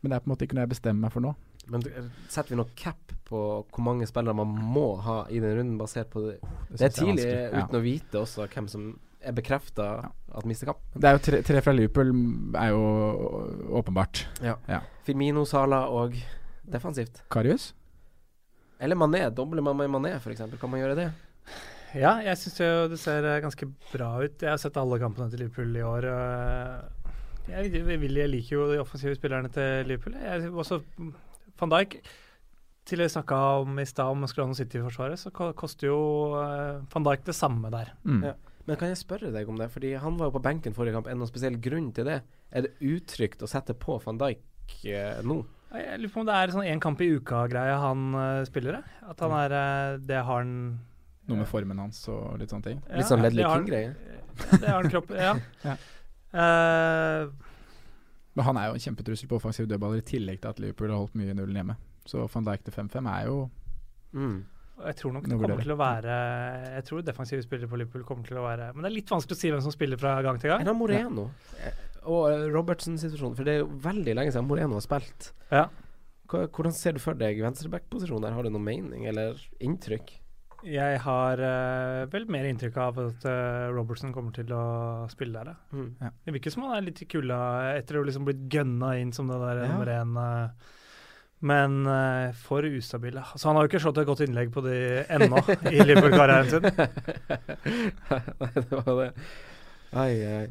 Speaker 4: Men det er på en måte ikke noe jeg bestemmer meg for nå.
Speaker 2: Men du- setter vi noe cap på hvor mange spillere man må ha i den runden, basert på det? Det er
Speaker 4: synes jeg
Speaker 2: tidlig
Speaker 4: vanskelig. Ja.
Speaker 2: uten å vite også hvem som er bekrefta at mister kamp.
Speaker 4: Det er jo tre, tre fra Liverpool er jo åpenbart.
Speaker 2: Firmino, Sala og defensivt.
Speaker 4: Karius?
Speaker 2: Eller Mané. Dobler man med Mané, f.eks. Kan man gjøre det?
Speaker 3: Ja, jeg syns jo det ser eh, ganske bra ut. Jeg har sett alle kampene til Liverpool i år. og eh, Jeg, vil- vil- jeg liker jo de offensive spillerne til Liverpool. Jeg, også van Dijk. Til jeg snakka om i stad om Skrano City-forsvaret, så ko- koster jo eh, van Dijk det samme der.
Speaker 4: Mm.
Speaker 2: Ja. Men kan jeg spørre deg om det? Fordi han var jo på benken forrige kamp. Er det noen spesiell grunn til det? Er det utrygt å sette på van Dijk eh, nå?
Speaker 3: Jeg jeg lurer på om det er sånn én kamp i uka-greie han eh, spiller, eh. At han er eh, Det har han
Speaker 4: Noe med formen hans og litt sånne ting.
Speaker 3: Ja,
Speaker 2: Litt sånn
Speaker 3: det
Speaker 2: Ledley
Speaker 3: har han.
Speaker 2: King-greie?
Speaker 3: Det har han kropp Ja.
Speaker 4: Ja.
Speaker 3: Eh,
Speaker 4: Men han er jo en kjempetrussel på offensive dødballer, i tillegg til at Liverpool har holdt mye i nullen hjemme. Så van Dijk til 5-5 er jo
Speaker 2: Mm.
Speaker 3: Og Jeg tror nok det
Speaker 4: Nå
Speaker 3: kommer
Speaker 4: vurderer.
Speaker 3: til å være Jeg tror defensive spillere på Liverpool kommer til å være Men det er litt vanskelig å si hvem som spiller fra gang til gang.
Speaker 2: Eller Moreno? Eh, Og eh, Robertsen-situasjonen. For det er jo veldig lenge siden Moreno har spilt.
Speaker 3: Ja.
Speaker 2: Hva- Hvordan ser du for deg venstreback-posisjonen der? Har du noen mening eller inntrykk?
Speaker 3: Jeg har eh, vel mer inntrykk av at eh, Robertson kommer til å spille der, ja.
Speaker 2: Mm.
Speaker 3: Det virker som han er litt i kulda etter å liksom blitt gønna inn som det der
Speaker 4: Ja.
Speaker 3: nummer én eh, Men eh, for ustabil. ja. Altså, han har jo ikke slått et godt innlegg på de ennå i Liverpool-karrieren sin.
Speaker 2: Nei, det var det. Ai, ai.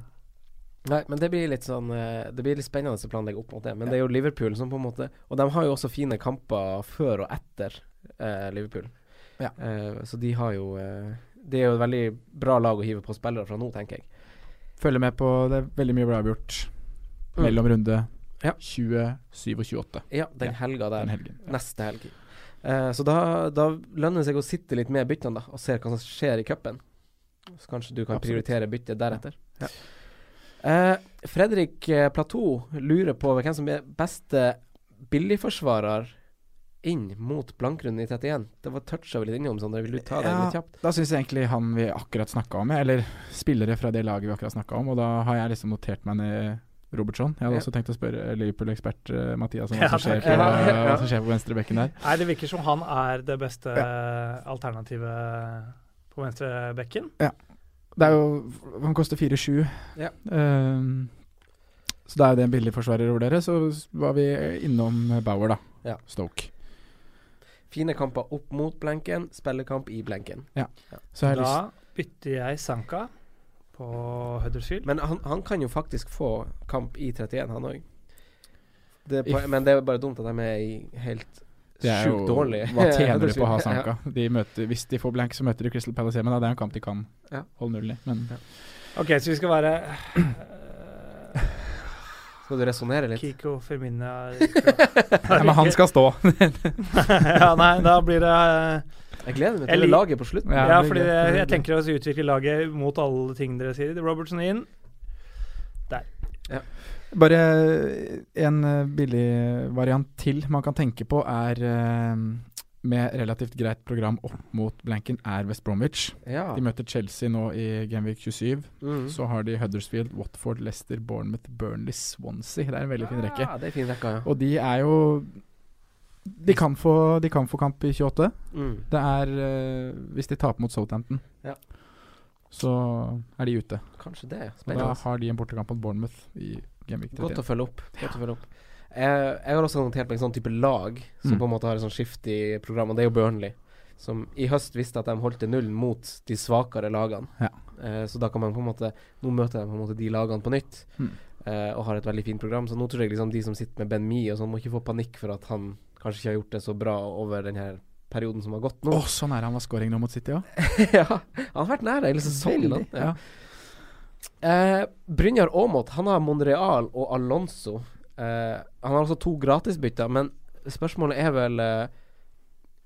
Speaker 2: Nei, men det blir litt sånn eh, Det blir litt spennende å planlegge opp mot det. Men det er jo Liverpool som på en måte Og de har jo også fine kamper før og etter eh, Liverpool.
Speaker 4: Ja.
Speaker 2: Eh, så de har jo eh, Det er jo et veldig bra lag å hive på spillere fra nå, tenker jeg.
Speaker 4: Følger med på Det er veldig mye bra avgjort
Speaker 2: Mm.
Speaker 4: mellom runde
Speaker 2: Ja.
Speaker 4: 27 og 28
Speaker 2: Ja, den helga der.
Speaker 4: den helgen.
Speaker 2: Neste helg. Eh, så da, da lønner det seg å sitte litt med byttene, da, og se hva som skjer i cupen. Så kanskje du kan
Speaker 4: Absolutt.
Speaker 2: prioritere byttet deretter. Eh, Fredrik eh, Platou lurer på hvem som er beste billigforsvarer inn mot blankrunden i 31. Det var toucha vi litt innom, Sondre. Vil du ta det
Speaker 4: Ja,
Speaker 2: litt kjapt?
Speaker 4: Da syns jeg egentlig han vi akkurat snakka om, eller spillere fra det laget vi akkurat snakka om, og da har jeg liksom notert meg ned Robertson. Jeg hadde
Speaker 2: Ja.
Speaker 4: også tenkt å spørre Liverpool-ekspert eh, Mathias om hva
Speaker 3: Ja,
Speaker 4: som skjer
Speaker 3: takk.
Speaker 4: på,
Speaker 2: Ja.
Speaker 4: hva som skjer på venstrebekken der.
Speaker 3: Nei, det virker som han er det beste eh, alternativet på venstrebekken.
Speaker 4: Det er jo Han koster 4-7.
Speaker 2: Ja.
Speaker 4: Ehm, så da er det en billig forsvarer over dere. Så s- var vi innom Bauer, da.
Speaker 2: Ja.
Speaker 4: Stoke.
Speaker 2: Fine kamper opp mot blenken, spillekamp i blenken.
Speaker 4: Så jeg har lyst
Speaker 3: Da bytter jeg Sanka på Huddersfield.
Speaker 2: Men han, han kan jo faktisk få kamp i 31, han òg.
Speaker 4: If-
Speaker 2: Men det er jo bare dumt at de er i helt
Speaker 4: det er jo,
Speaker 2: sjukt dårlig.
Speaker 4: Hva tjener du på å ha
Speaker 2: Ja.
Speaker 4: Sanka? De møter, hvis de får blank, så møter de Crystal Palace hjemme. Da. Det er en kamp de kan
Speaker 2: Ja.
Speaker 4: holde null i. Men
Speaker 3: Ok, så vi skal være eh,
Speaker 2: Skal du resonnere litt?
Speaker 3: Kiko Firmina
Speaker 4: Nei, men han skal stå.
Speaker 3: Ja, nei, da blir det
Speaker 2: Jeg gleder meg
Speaker 3: Jeg
Speaker 2: til det
Speaker 3: lik-
Speaker 2: laget på slutten.
Speaker 4: Ja,
Speaker 3: Ja,
Speaker 4: det blir
Speaker 3: fordi
Speaker 4: gøy.
Speaker 3: jeg, jeg
Speaker 4: Det blir
Speaker 3: tenker å utvikle laget mot alle ting dere sier. Robertson inn.
Speaker 4: Bare en eh, billig variant til man kan tenke på, er eh, med relativt greit program opp mot blanken, er West Bromwich.
Speaker 2: Ja.
Speaker 4: De møter Chelsea nå i Genvik 27.
Speaker 2: Mm.
Speaker 4: Så har de Huddersfield, Watford, Leicester, Bournemouth, Burnley, Swansea. Det er en veldig fin rekke.
Speaker 2: Ja, det er fin rekke, ja.
Speaker 4: Og de er jo De kan få, de kan få kamp i 28.
Speaker 2: Mm.
Speaker 4: Det er eh, hvis de taper mot Southampton.
Speaker 2: Ja.
Speaker 4: Så er de ute.
Speaker 2: Kanskje det. ja.
Speaker 4: Og da
Speaker 2: Spennende.
Speaker 4: har de en bortekamp mot Bournemouth i Genvik 31.
Speaker 2: Godt å følge opp. Godt å følge opp. Jeg, jeg har også notert meg en sånn type lag som
Speaker 4: Mm.
Speaker 2: på en måte har et sånn skift i programmet. Det er jo Burnley, som i høst visste at de holdt til null mot de svakere lagene.
Speaker 4: Ja.
Speaker 2: Eh, så da kan man på en måte Nå møter de på en måte de lagene på nytt,
Speaker 4: Mm.
Speaker 2: eh, og har et veldig fint program. Så nå tror jeg liksom de som sitter med Ben Mi og sånn, må ikke få panikk for at han kanskje ikke har gjort det så bra over den her perioden som har gått
Speaker 4: Å,
Speaker 2: nå.
Speaker 4: så nære sånn han var scoring nå mot City òg.
Speaker 2: ja, han har vært nær hele sesongen. han. Ja.
Speaker 4: Ja.
Speaker 2: Eh, Brynjar Aamodt han har Monreal og Alonso. Eh, han har altså to gratisbytter, men spørsmålet er vel eh,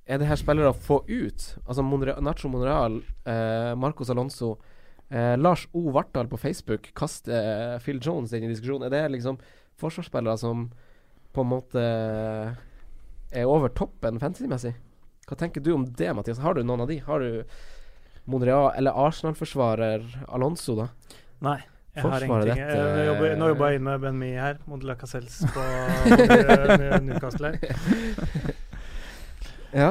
Speaker 2: Er det her spillere å få ut? Altså Monre Nacho Monreal, eh, Marcos Alonso eh, Lars O. Vartdal på Facebook kaster eh, Phil Jones inn i diskusjonen. Er det liksom forsvarsspillere som på en måte eh, er over toppen fantasymessig? Hva tenker du om det, Mathias? Har du noen av de? Har du Monreal eller Arsenal-forsvarer Alonso, da?
Speaker 3: Nei. Jeg har
Speaker 2: Forsvaret
Speaker 3: ingenting.
Speaker 2: dette-
Speaker 3: Jeg jobber, nå jobber jeg inn med Ben Mee her, mot Lacazelles på eh, Newcastle. her.
Speaker 2: Ja.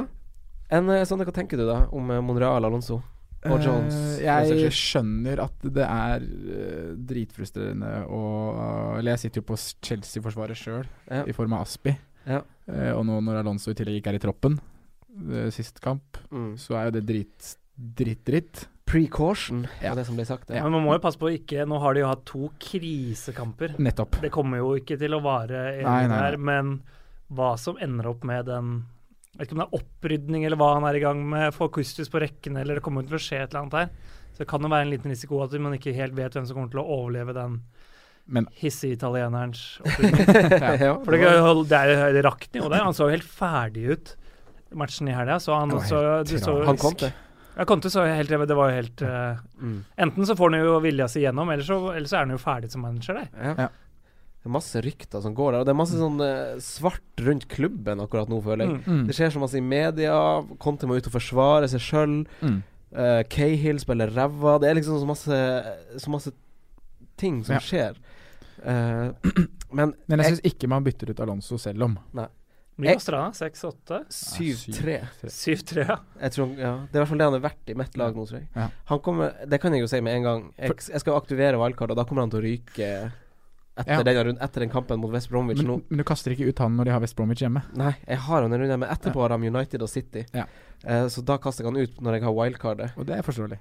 Speaker 2: En, eh, Sondre, hva tenker du da om eh, Monreal Alonso? Og Jones,
Speaker 4: Eh,
Speaker 2: for den
Speaker 4: jeg
Speaker 2: saks
Speaker 4: skjønner at det er eh, dritfrustrerende å Eller jeg sitter jo på s- Chelsea-forsvaret sjøl,
Speaker 2: Ja.
Speaker 4: i form av Aspi.
Speaker 2: Ja.
Speaker 4: Eh, og nå når Alonso i tillegg ikke er i troppen eh, sist kamp,
Speaker 2: Mm.
Speaker 4: så er jo det drit, dritt, dritt.
Speaker 2: Precaution
Speaker 4: Ja.
Speaker 2: var det som ble sagt. Mm. Ja.
Speaker 3: Men man må jo passe på å ikke Nå har de jo hatt to krisekamper.
Speaker 4: Nettopp.
Speaker 3: Det kommer jo ikke til å vare
Speaker 4: Nei,
Speaker 3: evig
Speaker 4: nei,
Speaker 3: der, men hva som ender opp med den Jeg vet ikke om det er opprydning eller hva han er i gang med, få Kustus på rekkene eller det kommer til å skje et eller annet her. Så det kan jo være en liten risiko at man ikke helt vet hvem som kommer til å overleve den
Speaker 4: Men-
Speaker 3: hissige italienerens opprydning.
Speaker 2: Ja,
Speaker 3: For det, det, er- det rakk jo der. Han så jo helt ferdig ut i matchen i helga, så han
Speaker 4: Det var
Speaker 3: så,
Speaker 4: helt
Speaker 3: du så
Speaker 4: tyrann.
Speaker 2: Han kom til.
Speaker 3: Ja, Conte så helt Det var jo helt eh,
Speaker 2: Mm.
Speaker 3: Enten så får han jo vilja si gjennom, eller så, eller så er han jo ferdig som manager der.
Speaker 2: Ja.
Speaker 4: Ja.
Speaker 2: Det er masse rykter som går der, og det er masse sånn eh, svart rundt klubben akkurat nå, føler jeg.
Speaker 3: Mm.
Speaker 4: Mm.
Speaker 2: Det skjer så masse i media, Conte må ut og forsvare seg sjøl,
Speaker 4: Mm.
Speaker 2: Cahill spiller ræva Det er liksom så masse, så masse ting som
Speaker 4: Ja.
Speaker 2: skjer. Eh, men
Speaker 4: Men jeg syns ikke man bytter ut Alonso selv om. Eh.
Speaker 3: Mye koster han, da? 6-8?
Speaker 2: 7-3
Speaker 3: 7-3, ja.
Speaker 2: Jeg tror, han- ja, Det er i hvert fall det han har vært i mitt lag nå, tror jeg.
Speaker 4: Ja.
Speaker 2: Han kommer, det kan jeg jo si med en gang. Jeg, jeg skal aktivere valgkart, og da kommer han til å ryke etter,
Speaker 4: Ja.
Speaker 2: denne runden, etter den kampen mot West Bromwich
Speaker 4: Men,
Speaker 2: nå.
Speaker 4: men du kaster ikke ut han når de har West Bromwich hjemme.
Speaker 2: Nei, jeg har han en runde, men etterpå har de United og City.
Speaker 4: Ja.
Speaker 2: Eh, så da kaster jeg han ut når jeg har wildcardet.
Speaker 4: Og det er forståelig.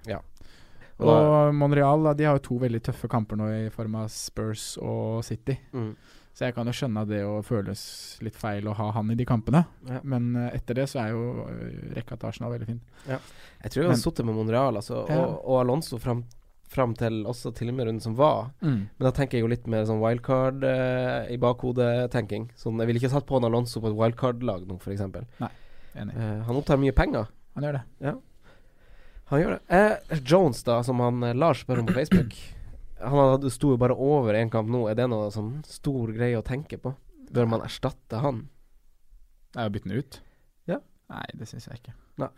Speaker 2: Og da,
Speaker 4: Og Monreal da, de har jo to veldig tøffe kamper nå i form av Spurs og City.
Speaker 2: mm,
Speaker 4: Så jeg kan jo skjønne at det å føles litt feil å ha han i de kampene.
Speaker 2: Ja.
Speaker 4: Men eh, etter det så er jo eh, rekka til Arsenal veldig fin.
Speaker 2: jeg tror jeg
Speaker 4: Men-
Speaker 2: har sittet med Monreal altså,
Speaker 4: Ja.
Speaker 2: og, og Alonso fram, fram til også til og med runden som var. Men da tenker jeg jo litt mer sånn wildcard eh, i bakhodet-tenking. Sånn, jeg ville ikke satt på han Alonso på et wildcard-lag nå, f.eks.
Speaker 4: Enig.
Speaker 2: Eh, han opptar mye penger.
Speaker 4: Han gjør det.
Speaker 2: Han gjør det. Eh, Jones, da, som han eh, Lars spør om på Facebook. Han hadde- sto jo bare over én kamp nå. Er det noe sånn stor greie å tenke på? Bør man erstatte han?
Speaker 4: Det er jo å bytte den ut.
Speaker 2: Ja.
Speaker 4: Nei, det syns jeg ikke.
Speaker 2: Nei.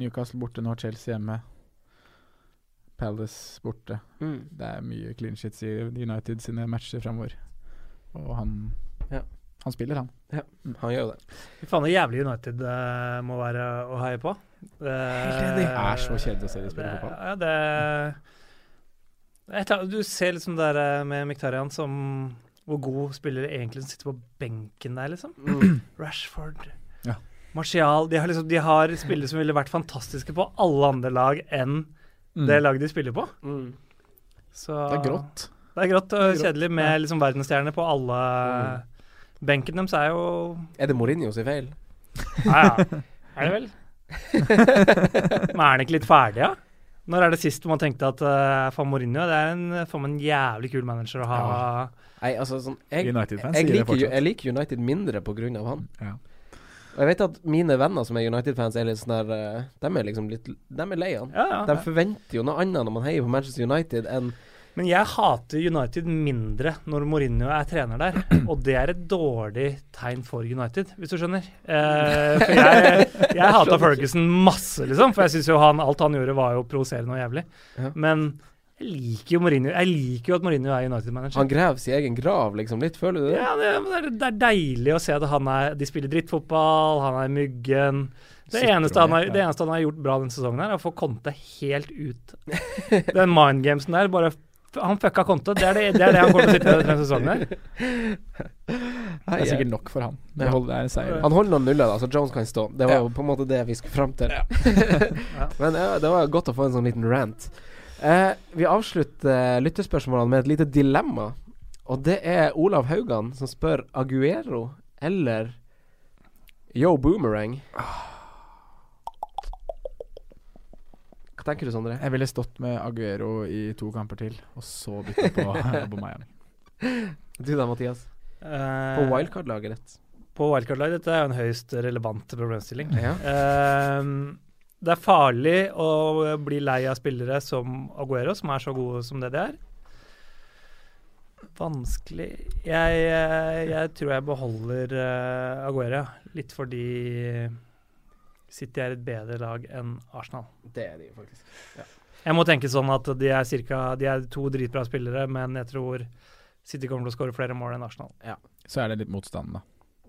Speaker 4: Newcastle borte nå, Chelsea hjemme. Palace borte.
Speaker 3: Mm.
Speaker 4: Det er mye clean shits i United sine matcher framover. Og han
Speaker 2: Ja.
Speaker 4: Han spiller, han.
Speaker 2: Han gjør jo det.
Speaker 3: Fy faen, det jævlig United eh, må være å heie på. Det
Speaker 4: enig. Det er så kjedelig å se de spille
Speaker 3: det-
Speaker 4: fotball.
Speaker 3: Ja, det det er et eller annet- Du ser liksom det der eh, med Miktarian som Hvor god spiller egentlig som sitter på benken der, liksom. Rashford.
Speaker 4: Ja.
Speaker 3: Martial. De har, liksom, de har spillere som ville vært fantastiske på alle andre lag enn
Speaker 4: Mm.
Speaker 3: det laget de spiller på. Så
Speaker 4: Det er grått.
Speaker 3: Det er grått og
Speaker 4: Det er grått, Mm.
Speaker 3: kjedelig med liksom verdensstjerner på alle Benken deres er jo
Speaker 2: Er det Mourinho sin feil?
Speaker 3: Ja, ja. Er det vel? Men er han ikke litt ferdig, da? Når er det sist man tenkte at uh, faen Mourinho Det er en, faen meg en jævlig kul manager å ha.
Speaker 2: Nei, altså sånn Jeg,
Speaker 4: United-fans
Speaker 2: jeg,
Speaker 4: sier det
Speaker 2: liker, jo-
Speaker 4: fortsatt.
Speaker 2: jeg liker United mindre på grunn av han.
Speaker 4: Ja.
Speaker 2: Og jeg vet at mine venner som er United-fans, er litt sånn der eh, De er liksom litt De er lei han.
Speaker 3: Ja, ja.
Speaker 2: De forventer jo noe annet når man heier på Manchester United enn
Speaker 3: Men jeg hater United mindre når Mourinho er trener der, og det er et dårlig tegn for United, hvis du skjønner. Eh, for jeg, jeg hata Ferguson masse, liksom, for jeg syns jo han, alt han gjorde var jo provoserende og jævlig.
Speaker 2: Ja.
Speaker 3: Men jeg liker jo Mourinho. Jeg liker jo at Mourinho er United-manager.
Speaker 2: Han graver sin egen grav, liksom. Litt, føler du det?
Speaker 3: Ja, det, men det er- det er deilig å se at han er, de spiller drittfotball, han er muggen. Det
Speaker 4: Sitter
Speaker 3: eneste, han
Speaker 4: og-
Speaker 3: har, det eneste han har gjort bra denne sesongen, her er å få Conte helt ut. Den mind gamesen der, bare f- Han fucka Conte. Det er det, det, er det han kommer til å sitte med denne sesongen her.
Speaker 4: Det er
Speaker 2: Hei,
Speaker 4: sikkert nok for han. Det
Speaker 2: Ja.
Speaker 4: holder det er en seier.
Speaker 2: Han holder noen nuller, da, så Jones kan stå. Det var
Speaker 4: Ja.
Speaker 2: jo på en måte det vi skulle fram til. Men ja, det var godt å få en sånn liten rant. Eh, vi avslutter lyttespørsmålene med et lite dilemma. Og det er Olav Haugan som spør Aguero eller Yo Boomerang. Hva tenker du, Sondre?
Speaker 4: Jeg ville stått med Aguero i to kamper til, og så bytte på Aubameyang.
Speaker 2: Du da, Mathias?
Speaker 3: Eh,
Speaker 2: På wildcard-laget ditt.
Speaker 3: På wildcard-lag. Dette er jo en høyst relevant problemstilling.
Speaker 2: Ja.
Speaker 3: Eh, det er farlig å bli lei av spillere som Aguero, som er så gode som det de er. Vanskelig Jeg, eh, jeg tror jeg beholder eh, Aguero, litt fordi City er et bedre lag enn Arsenal.
Speaker 2: Det er de faktisk.
Speaker 3: Jeg må tenke sånn at de er, cirka, de er to dritbra spillere, men jeg tror City kommer til å skåre flere mål enn Arsenal.
Speaker 4: Så er det litt motstand, da.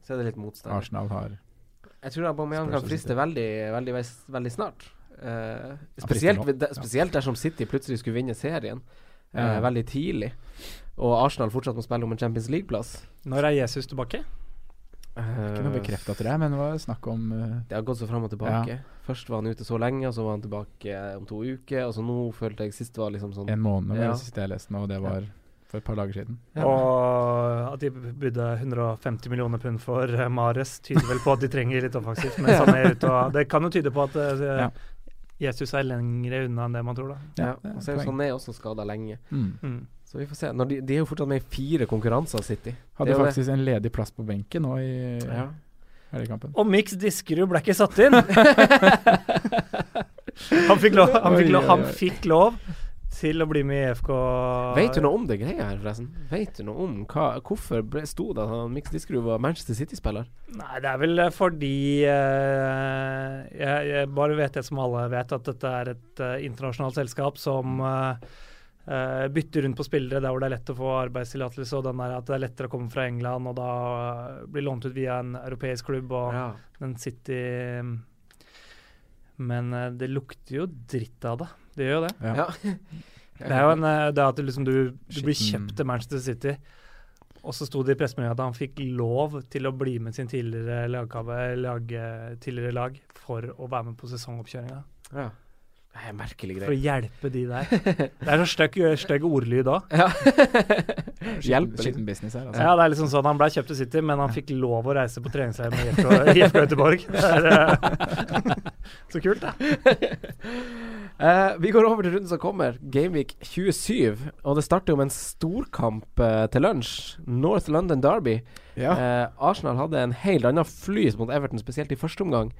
Speaker 2: Så er det litt motstand.
Speaker 4: Arsenal har
Speaker 2: Jeg tror Aubameyang
Speaker 4: Spurs
Speaker 2: kan
Speaker 4: og
Speaker 2: friste
Speaker 4: City.
Speaker 2: veldig, veldig, ves- veldig snart. Eh,
Speaker 4: frister
Speaker 2: spesielt,
Speaker 4: nå.
Speaker 2: ved- de,
Speaker 4: Ja.
Speaker 2: spesielt dersom City plutselig skulle vinne serien eh,
Speaker 4: Ja.
Speaker 2: veldig tidlig, og Arsenal fortsatt må spille om en Champions League-plass. Eh,
Speaker 3: Når er Jesus tilbake?
Speaker 4: Ikke noe bekrefta til det, men det var snakk om eh,
Speaker 2: Det har gått så fram og tilbake. Først var han ute så lenge, og så var han tilbake eh, om to uker. Og så nå følte jeg sist var liksom sånn
Speaker 4: en måned, var
Speaker 2: Ja.
Speaker 4: det siste jeg leste nå, og det var for et par dager siden.
Speaker 2: Ja.
Speaker 3: Og at de bydde 150 millioner pund for eh, Mares, tyder vel på at de trenger litt offensivt. Men sånn er det ute, og det kan jo tyde på at eh,
Speaker 4: Ja.
Speaker 3: Jesus er lengre unna enn det man tror, da.
Speaker 2: ja,
Speaker 4: det er
Speaker 2: Og så er
Speaker 4: poeng.
Speaker 2: jo Sané også skada lenge.
Speaker 4: Mm.
Speaker 3: Mm.
Speaker 2: Så vi får se. Når de, de er jo fortsatt med i fire konkurranser, City. Det
Speaker 4: Hadde
Speaker 2: er jo det.
Speaker 4: faktisk en ledig plass på benken nå i
Speaker 2: Ja.
Speaker 4: helgekampen.
Speaker 3: Og Mix Diskerud ble ikke satt inn! han, fikk lov, han, fikk
Speaker 4: Oi,
Speaker 3: lov,
Speaker 4: oi,
Speaker 3: han
Speaker 4: oi.
Speaker 3: fikk lov til å bli med i E EFK.
Speaker 2: Vet du noe om det greia her, forresten? Vet du noe om hva, hvorfor ble, sto det at han Mix Diskerud var Manchester City-spiller?
Speaker 3: Nei, det er vel eh, fordi eh, jeg, jeg bare vet det som alle vet, at dette er et eh, internasjonalt selskap som eh, eh, bytter rundt på spillere der hvor det er lett å få arbeidstillatelse, og den der at det er lettere å komme fra England og da eh, bli lånt ut via en europeisk klubb og den City Men eh, det lukter jo dritt av det. Det gjør jo det.
Speaker 4: Ja.
Speaker 2: Ja.
Speaker 3: Det er jo en, eh, det er at du liksom du, du blir
Speaker 4: Skitten.
Speaker 3: kjøpt til Manchester City, Og så sto det i pressemeldinga at han fikk lov til å bli med sin tidligere lagkave- lag, eh, tidligere lag for å være med på sesongoppkjøringa.
Speaker 2: Ja. Det er en merkelig
Speaker 3: For å
Speaker 2: greie.
Speaker 3: hjelpe de der. Det er så stygg stygg ordlyd òg.
Speaker 2: Ja.
Speaker 4: Skitten,
Speaker 2: Hjelper litt.
Speaker 4: skitten business her, altså.
Speaker 3: Ja, det er liksom sånn han ble kjøpt til City, men han fikk lov å reise på treningsleir med IFK IFK Göteborg. Det er, eh, så kult, da.
Speaker 2: Eh, vi går over til runden som kommer, Gameweek 27. Og det starter jo med en storkamp eh, til lunsj. North London Derby.
Speaker 4: Ja.
Speaker 2: Eh, Arsenal hadde en helt annen flys mot Everton, spesielt i første omgang.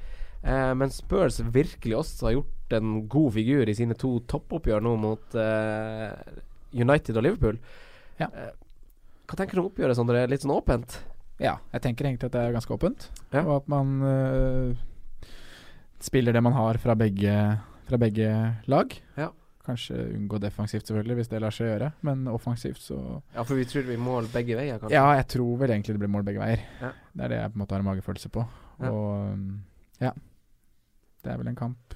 Speaker 2: Eh, men Spurs virkelig også har gjort en god figur i sine to toppoppgjør nå mot eh, United og Liverpool.
Speaker 4: Ja.
Speaker 2: Eh, hva tenker du om oppgjøret, Sondre? Litt sånn åpent?
Speaker 4: Ja, jeg tenker egentlig at det er ganske åpent.
Speaker 2: Ja.
Speaker 4: Og at man øh, spiller det man har fra begge, fra begge lag.
Speaker 2: Ja.
Speaker 4: Kanskje unngå defensivt, selvfølgelig, hvis det lar seg gjøre. Men offensivt, så
Speaker 2: Ja, for vi tror vi måler begge veier, kanskje.
Speaker 4: Ja, jeg tror vel egentlig det blir mål begge veier.
Speaker 2: Ja.
Speaker 4: Det er det jeg på en måte har en magefølelse på.
Speaker 2: Ja.
Speaker 4: Og øhm, ja. Det er vel en kamp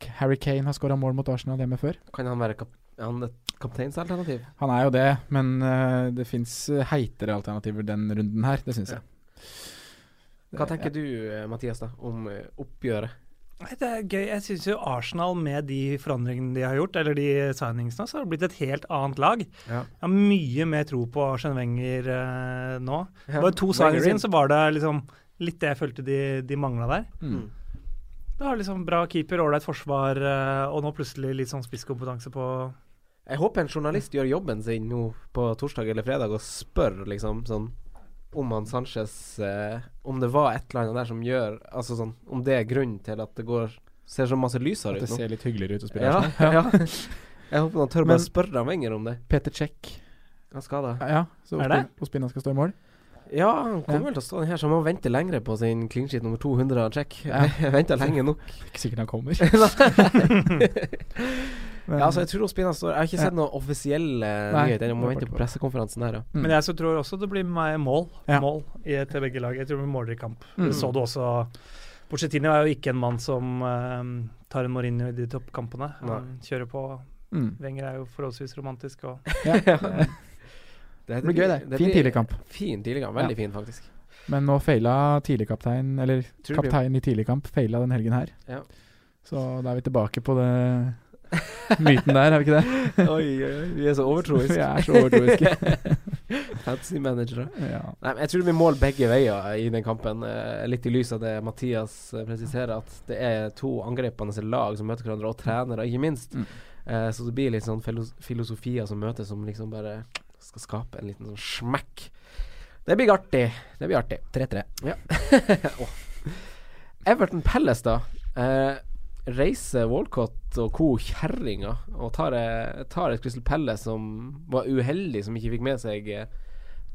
Speaker 4: K- Harry Kane har skåra mål mot Arsenal hjemme før.
Speaker 2: Kan han være kap han et kapteinsalternativ?
Speaker 4: Han er jo det, men øh, det fins heitere alternativer den runden her. Det syns
Speaker 2: Ja.
Speaker 4: jeg.
Speaker 2: Hva tenker du, eh, Mathias, da, om eh, oppgjøret?
Speaker 3: Nei, Det er gøy. Jeg syns jo Arsenal med de forandringene de har gjort, eller de signingsene, så har det blitt et helt annet lag.
Speaker 2: Ja.
Speaker 3: Jeg har mye mer tro på Arsene Wenger eh, nå. Det var to
Speaker 2: Wenger
Speaker 3: signings
Speaker 2: inn.
Speaker 3: inn, så var det liksom litt det jeg følte de, de mangla der.
Speaker 4: Mm.
Speaker 3: Det var liksom bra keeper, ålreit forsvar, eh, og nå plutselig litt sånn spisskompetanse på
Speaker 2: Jeg håper en journalist gjør jobben sin nå på torsdag eller fredag og spør liksom sånn om han Sanchez eh, Om det var et eller annet der som gjør Altså sånn Om det er grunnen til at det går ser så masse lysere
Speaker 4: At det
Speaker 2: ut nå.
Speaker 4: ser litt hyggeligere ut å spille
Speaker 2: Ja,
Speaker 4: Arsenal.
Speaker 2: ja. Jeg håper han tør
Speaker 4: Men-
Speaker 2: bare spørre han Wenger om det.
Speaker 4: Peter Cech.
Speaker 2: Han skal da.
Speaker 4: Ja, så
Speaker 3: Er det?
Speaker 4: Osp- Ospina skal stå i mål.
Speaker 2: Ja, han
Speaker 4: Ja.
Speaker 2: kommer vel til å stå den her, så han må vente lengre på sin clean sheet nummer 200 av Check.
Speaker 4: Ja.
Speaker 2: Jeg venta lenge nok.
Speaker 4: Ikke sikkert han kommer.
Speaker 2: Ja, altså, jeg tror Ospina står Jeg har ikke sett noen offisielle
Speaker 4: Nei.
Speaker 2: nyheter. Jeg må vente på pressekonferansen her, ja.
Speaker 4: Mm.
Speaker 3: Men jeg så tror også det blir meg mål,
Speaker 4: Ja.
Speaker 3: mål i, til begge lag. Jeg tror vi måler i kamp.
Speaker 4: Mm.
Speaker 3: Det
Speaker 2: sånn.
Speaker 3: så du også. Porcetino er jo ikke en mann som eh, tar en Mourinho i de toppkampene. Han kjører på.
Speaker 4: mm.
Speaker 3: Wenger er jo forholdsvis romantisk. Og
Speaker 2: Det
Speaker 4: blir gøy, det. Fin tidlig kamp.
Speaker 2: Fin tidlig kamp. Veldig fin, faktisk.
Speaker 4: Men nå feila tidligkaptein, eller
Speaker 2: Tror det blir-
Speaker 4: kaptein i tidligkamp, feila den helgen her.
Speaker 2: Ja.
Speaker 4: Så da er vi tilbake på det myten der, er vi ikke det?
Speaker 2: Oi, oi, oi, vi er så overtroiske.
Speaker 4: Vi er så overtroiske.
Speaker 2: Fancy managere.
Speaker 4: ja.
Speaker 2: Nei, men jeg tror vi måler begge veier i den kampen. eh, Litt i lys av det Mathias eh, presiserer, at det er to angripende lag som møter hverandre, og trenere, ikke minst.
Speaker 4: Mm.
Speaker 2: Eh, så det blir litt sånn filos filosofier som møtes, som liksom bare skal skape en liten sånn smekk. Det blir artig. Det blir artig. 3-3. Ja. Åh. Everton Palace, da. Eh, reiser Walcott og co. kjerringa og tar, eh, tar et Crystal Palace som var uheldig, som ikke fikk med seg eh,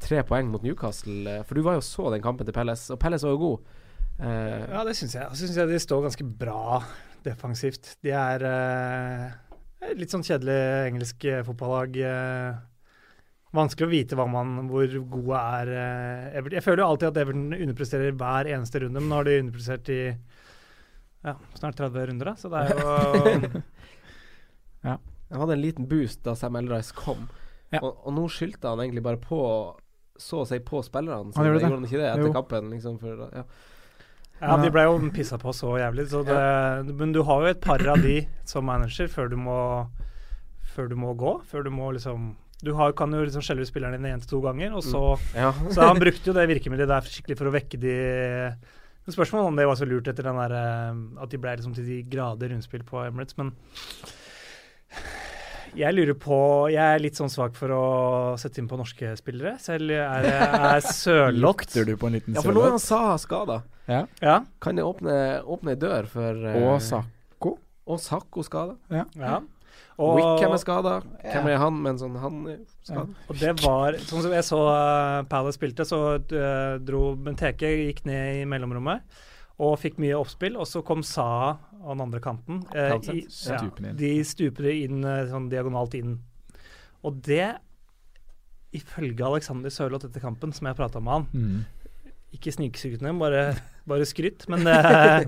Speaker 2: tre poeng mot Newcastle. eh, For du var jo så den kampen til Palace, og Palace var jo god. Eh,
Speaker 3: Ja, det syns jeg. Og så syns jeg de står ganske bra defensivt. De er eh, litt sånn kjedelig engelsk eh, fotballag. eh. vanskelig å vite hva man, hvor gode er eh, Everton. Jeg føler jo alltid at Everton underpresterer hver eneste runde, men nå har de underprestert i ja, snart 30 runder, da. Så det er jo
Speaker 2: Han hadde en liten boost da Sam Eldrice kom,
Speaker 4: Ja.
Speaker 2: og, og nå skyldte han egentlig bare på så å si på spillerne. Så
Speaker 4: Han gjorde det.
Speaker 2: gjorde han ikke det etter
Speaker 4: Jo.
Speaker 2: kampen. Liksom, for, ja.
Speaker 3: Ja, de ble jo pissa på så jævlig, så det, men du har jo et par av de som manager før du må, før du må gå. Før du må liksom Du har, kan jo liksom skjelle ut spillerne dine én til to ganger, og så
Speaker 2: Ja.
Speaker 3: Så han brukte jo det virkemidlet der skikkelig for å vekke de Men Spørsmålet om det var så lurt etter den der, eh, at de ble liksom til de grader rundspill på Emirates, men jeg lurer på Jeg er litt sånn svak for å sette inn på norske spillere. Selv er jeg sørlott.
Speaker 4: Lukter du på en liten
Speaker 2: ja, for nå er
Speaker 4: sørlåt?
Speaker 2: han Saha skada.
Speaker 3: Ja,
Speaker 2: Kan jeg åpne, åpne ei dør for eh,
Speaker 4: Og Sak.
Speaker 2: Og Sakko skada.
Speaker 3: ja.
Speaker 2: Wickham
Speaker 3: Og,
Speaker 2: er skada. Hvem er han? Men sånn, han er skada.
Speaker 3: og det var Sånn som jeg så eh, Palace spilte, så eh, dro Benteke gikk ned i mellomrommet og fikk mye oppspill. Og så kom Saha av den andre kanten. eh,
Speaker 2: Townsend.
Speaker 3: i- ja,
Speaker 4: Stupen inn.
Speaker 3: de stuper inn eh, sånn diagonalt inn. Og det, ifølge Alexander Sørloth etter kampen, som jeg prata med han
Speaker 4: Mm.
Speaker 3: Ikke sniksytende, bare, bare skryt, men eh,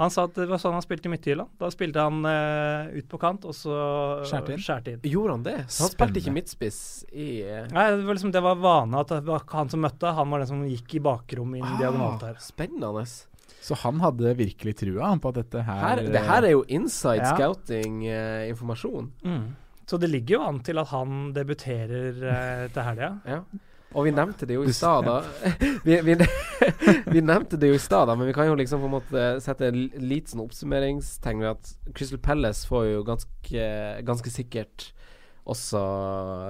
Speaker 3: Han sa at det var sånn han spilte i Midtjylland. Da spilte han eh, ut på kant, og så
Speaker 4: Skjærte inn.
Speaker 3: skjærte inn.
Speaker 2: Gjorde han det? Så han
Speaker 4: Spennende.
Speaker 2: spilte ikke midtspiss i eh,
Speaker 3: Nei, det var, liksom, det var vane at det var han som møtte, han var den som gikk i bakrom inn
Speaker 2: Ah.
Speaker 3: diagonalt her.
Speaker 2: Spennende.
Speaker 4: Så han hadde virkelig trua han, på at dette her,
Speaker 2: Her, det her er jo inside eh,
Speaker 3: Ja.
Speaker 2: scouting-informasjon.
Speaker 3: Så det ligger jo an til at han debuterer eh, til helga.
Speaker 2: Ja. Og vi nevnte det jo i stad, da. Vi, vi, vi nevnte det jo i stad, da, men vi kan jo liksom på en måte sette en l- liten sånn oppsummeringstegn ved at Crystal Palace får jo ganske, ganske sikkert også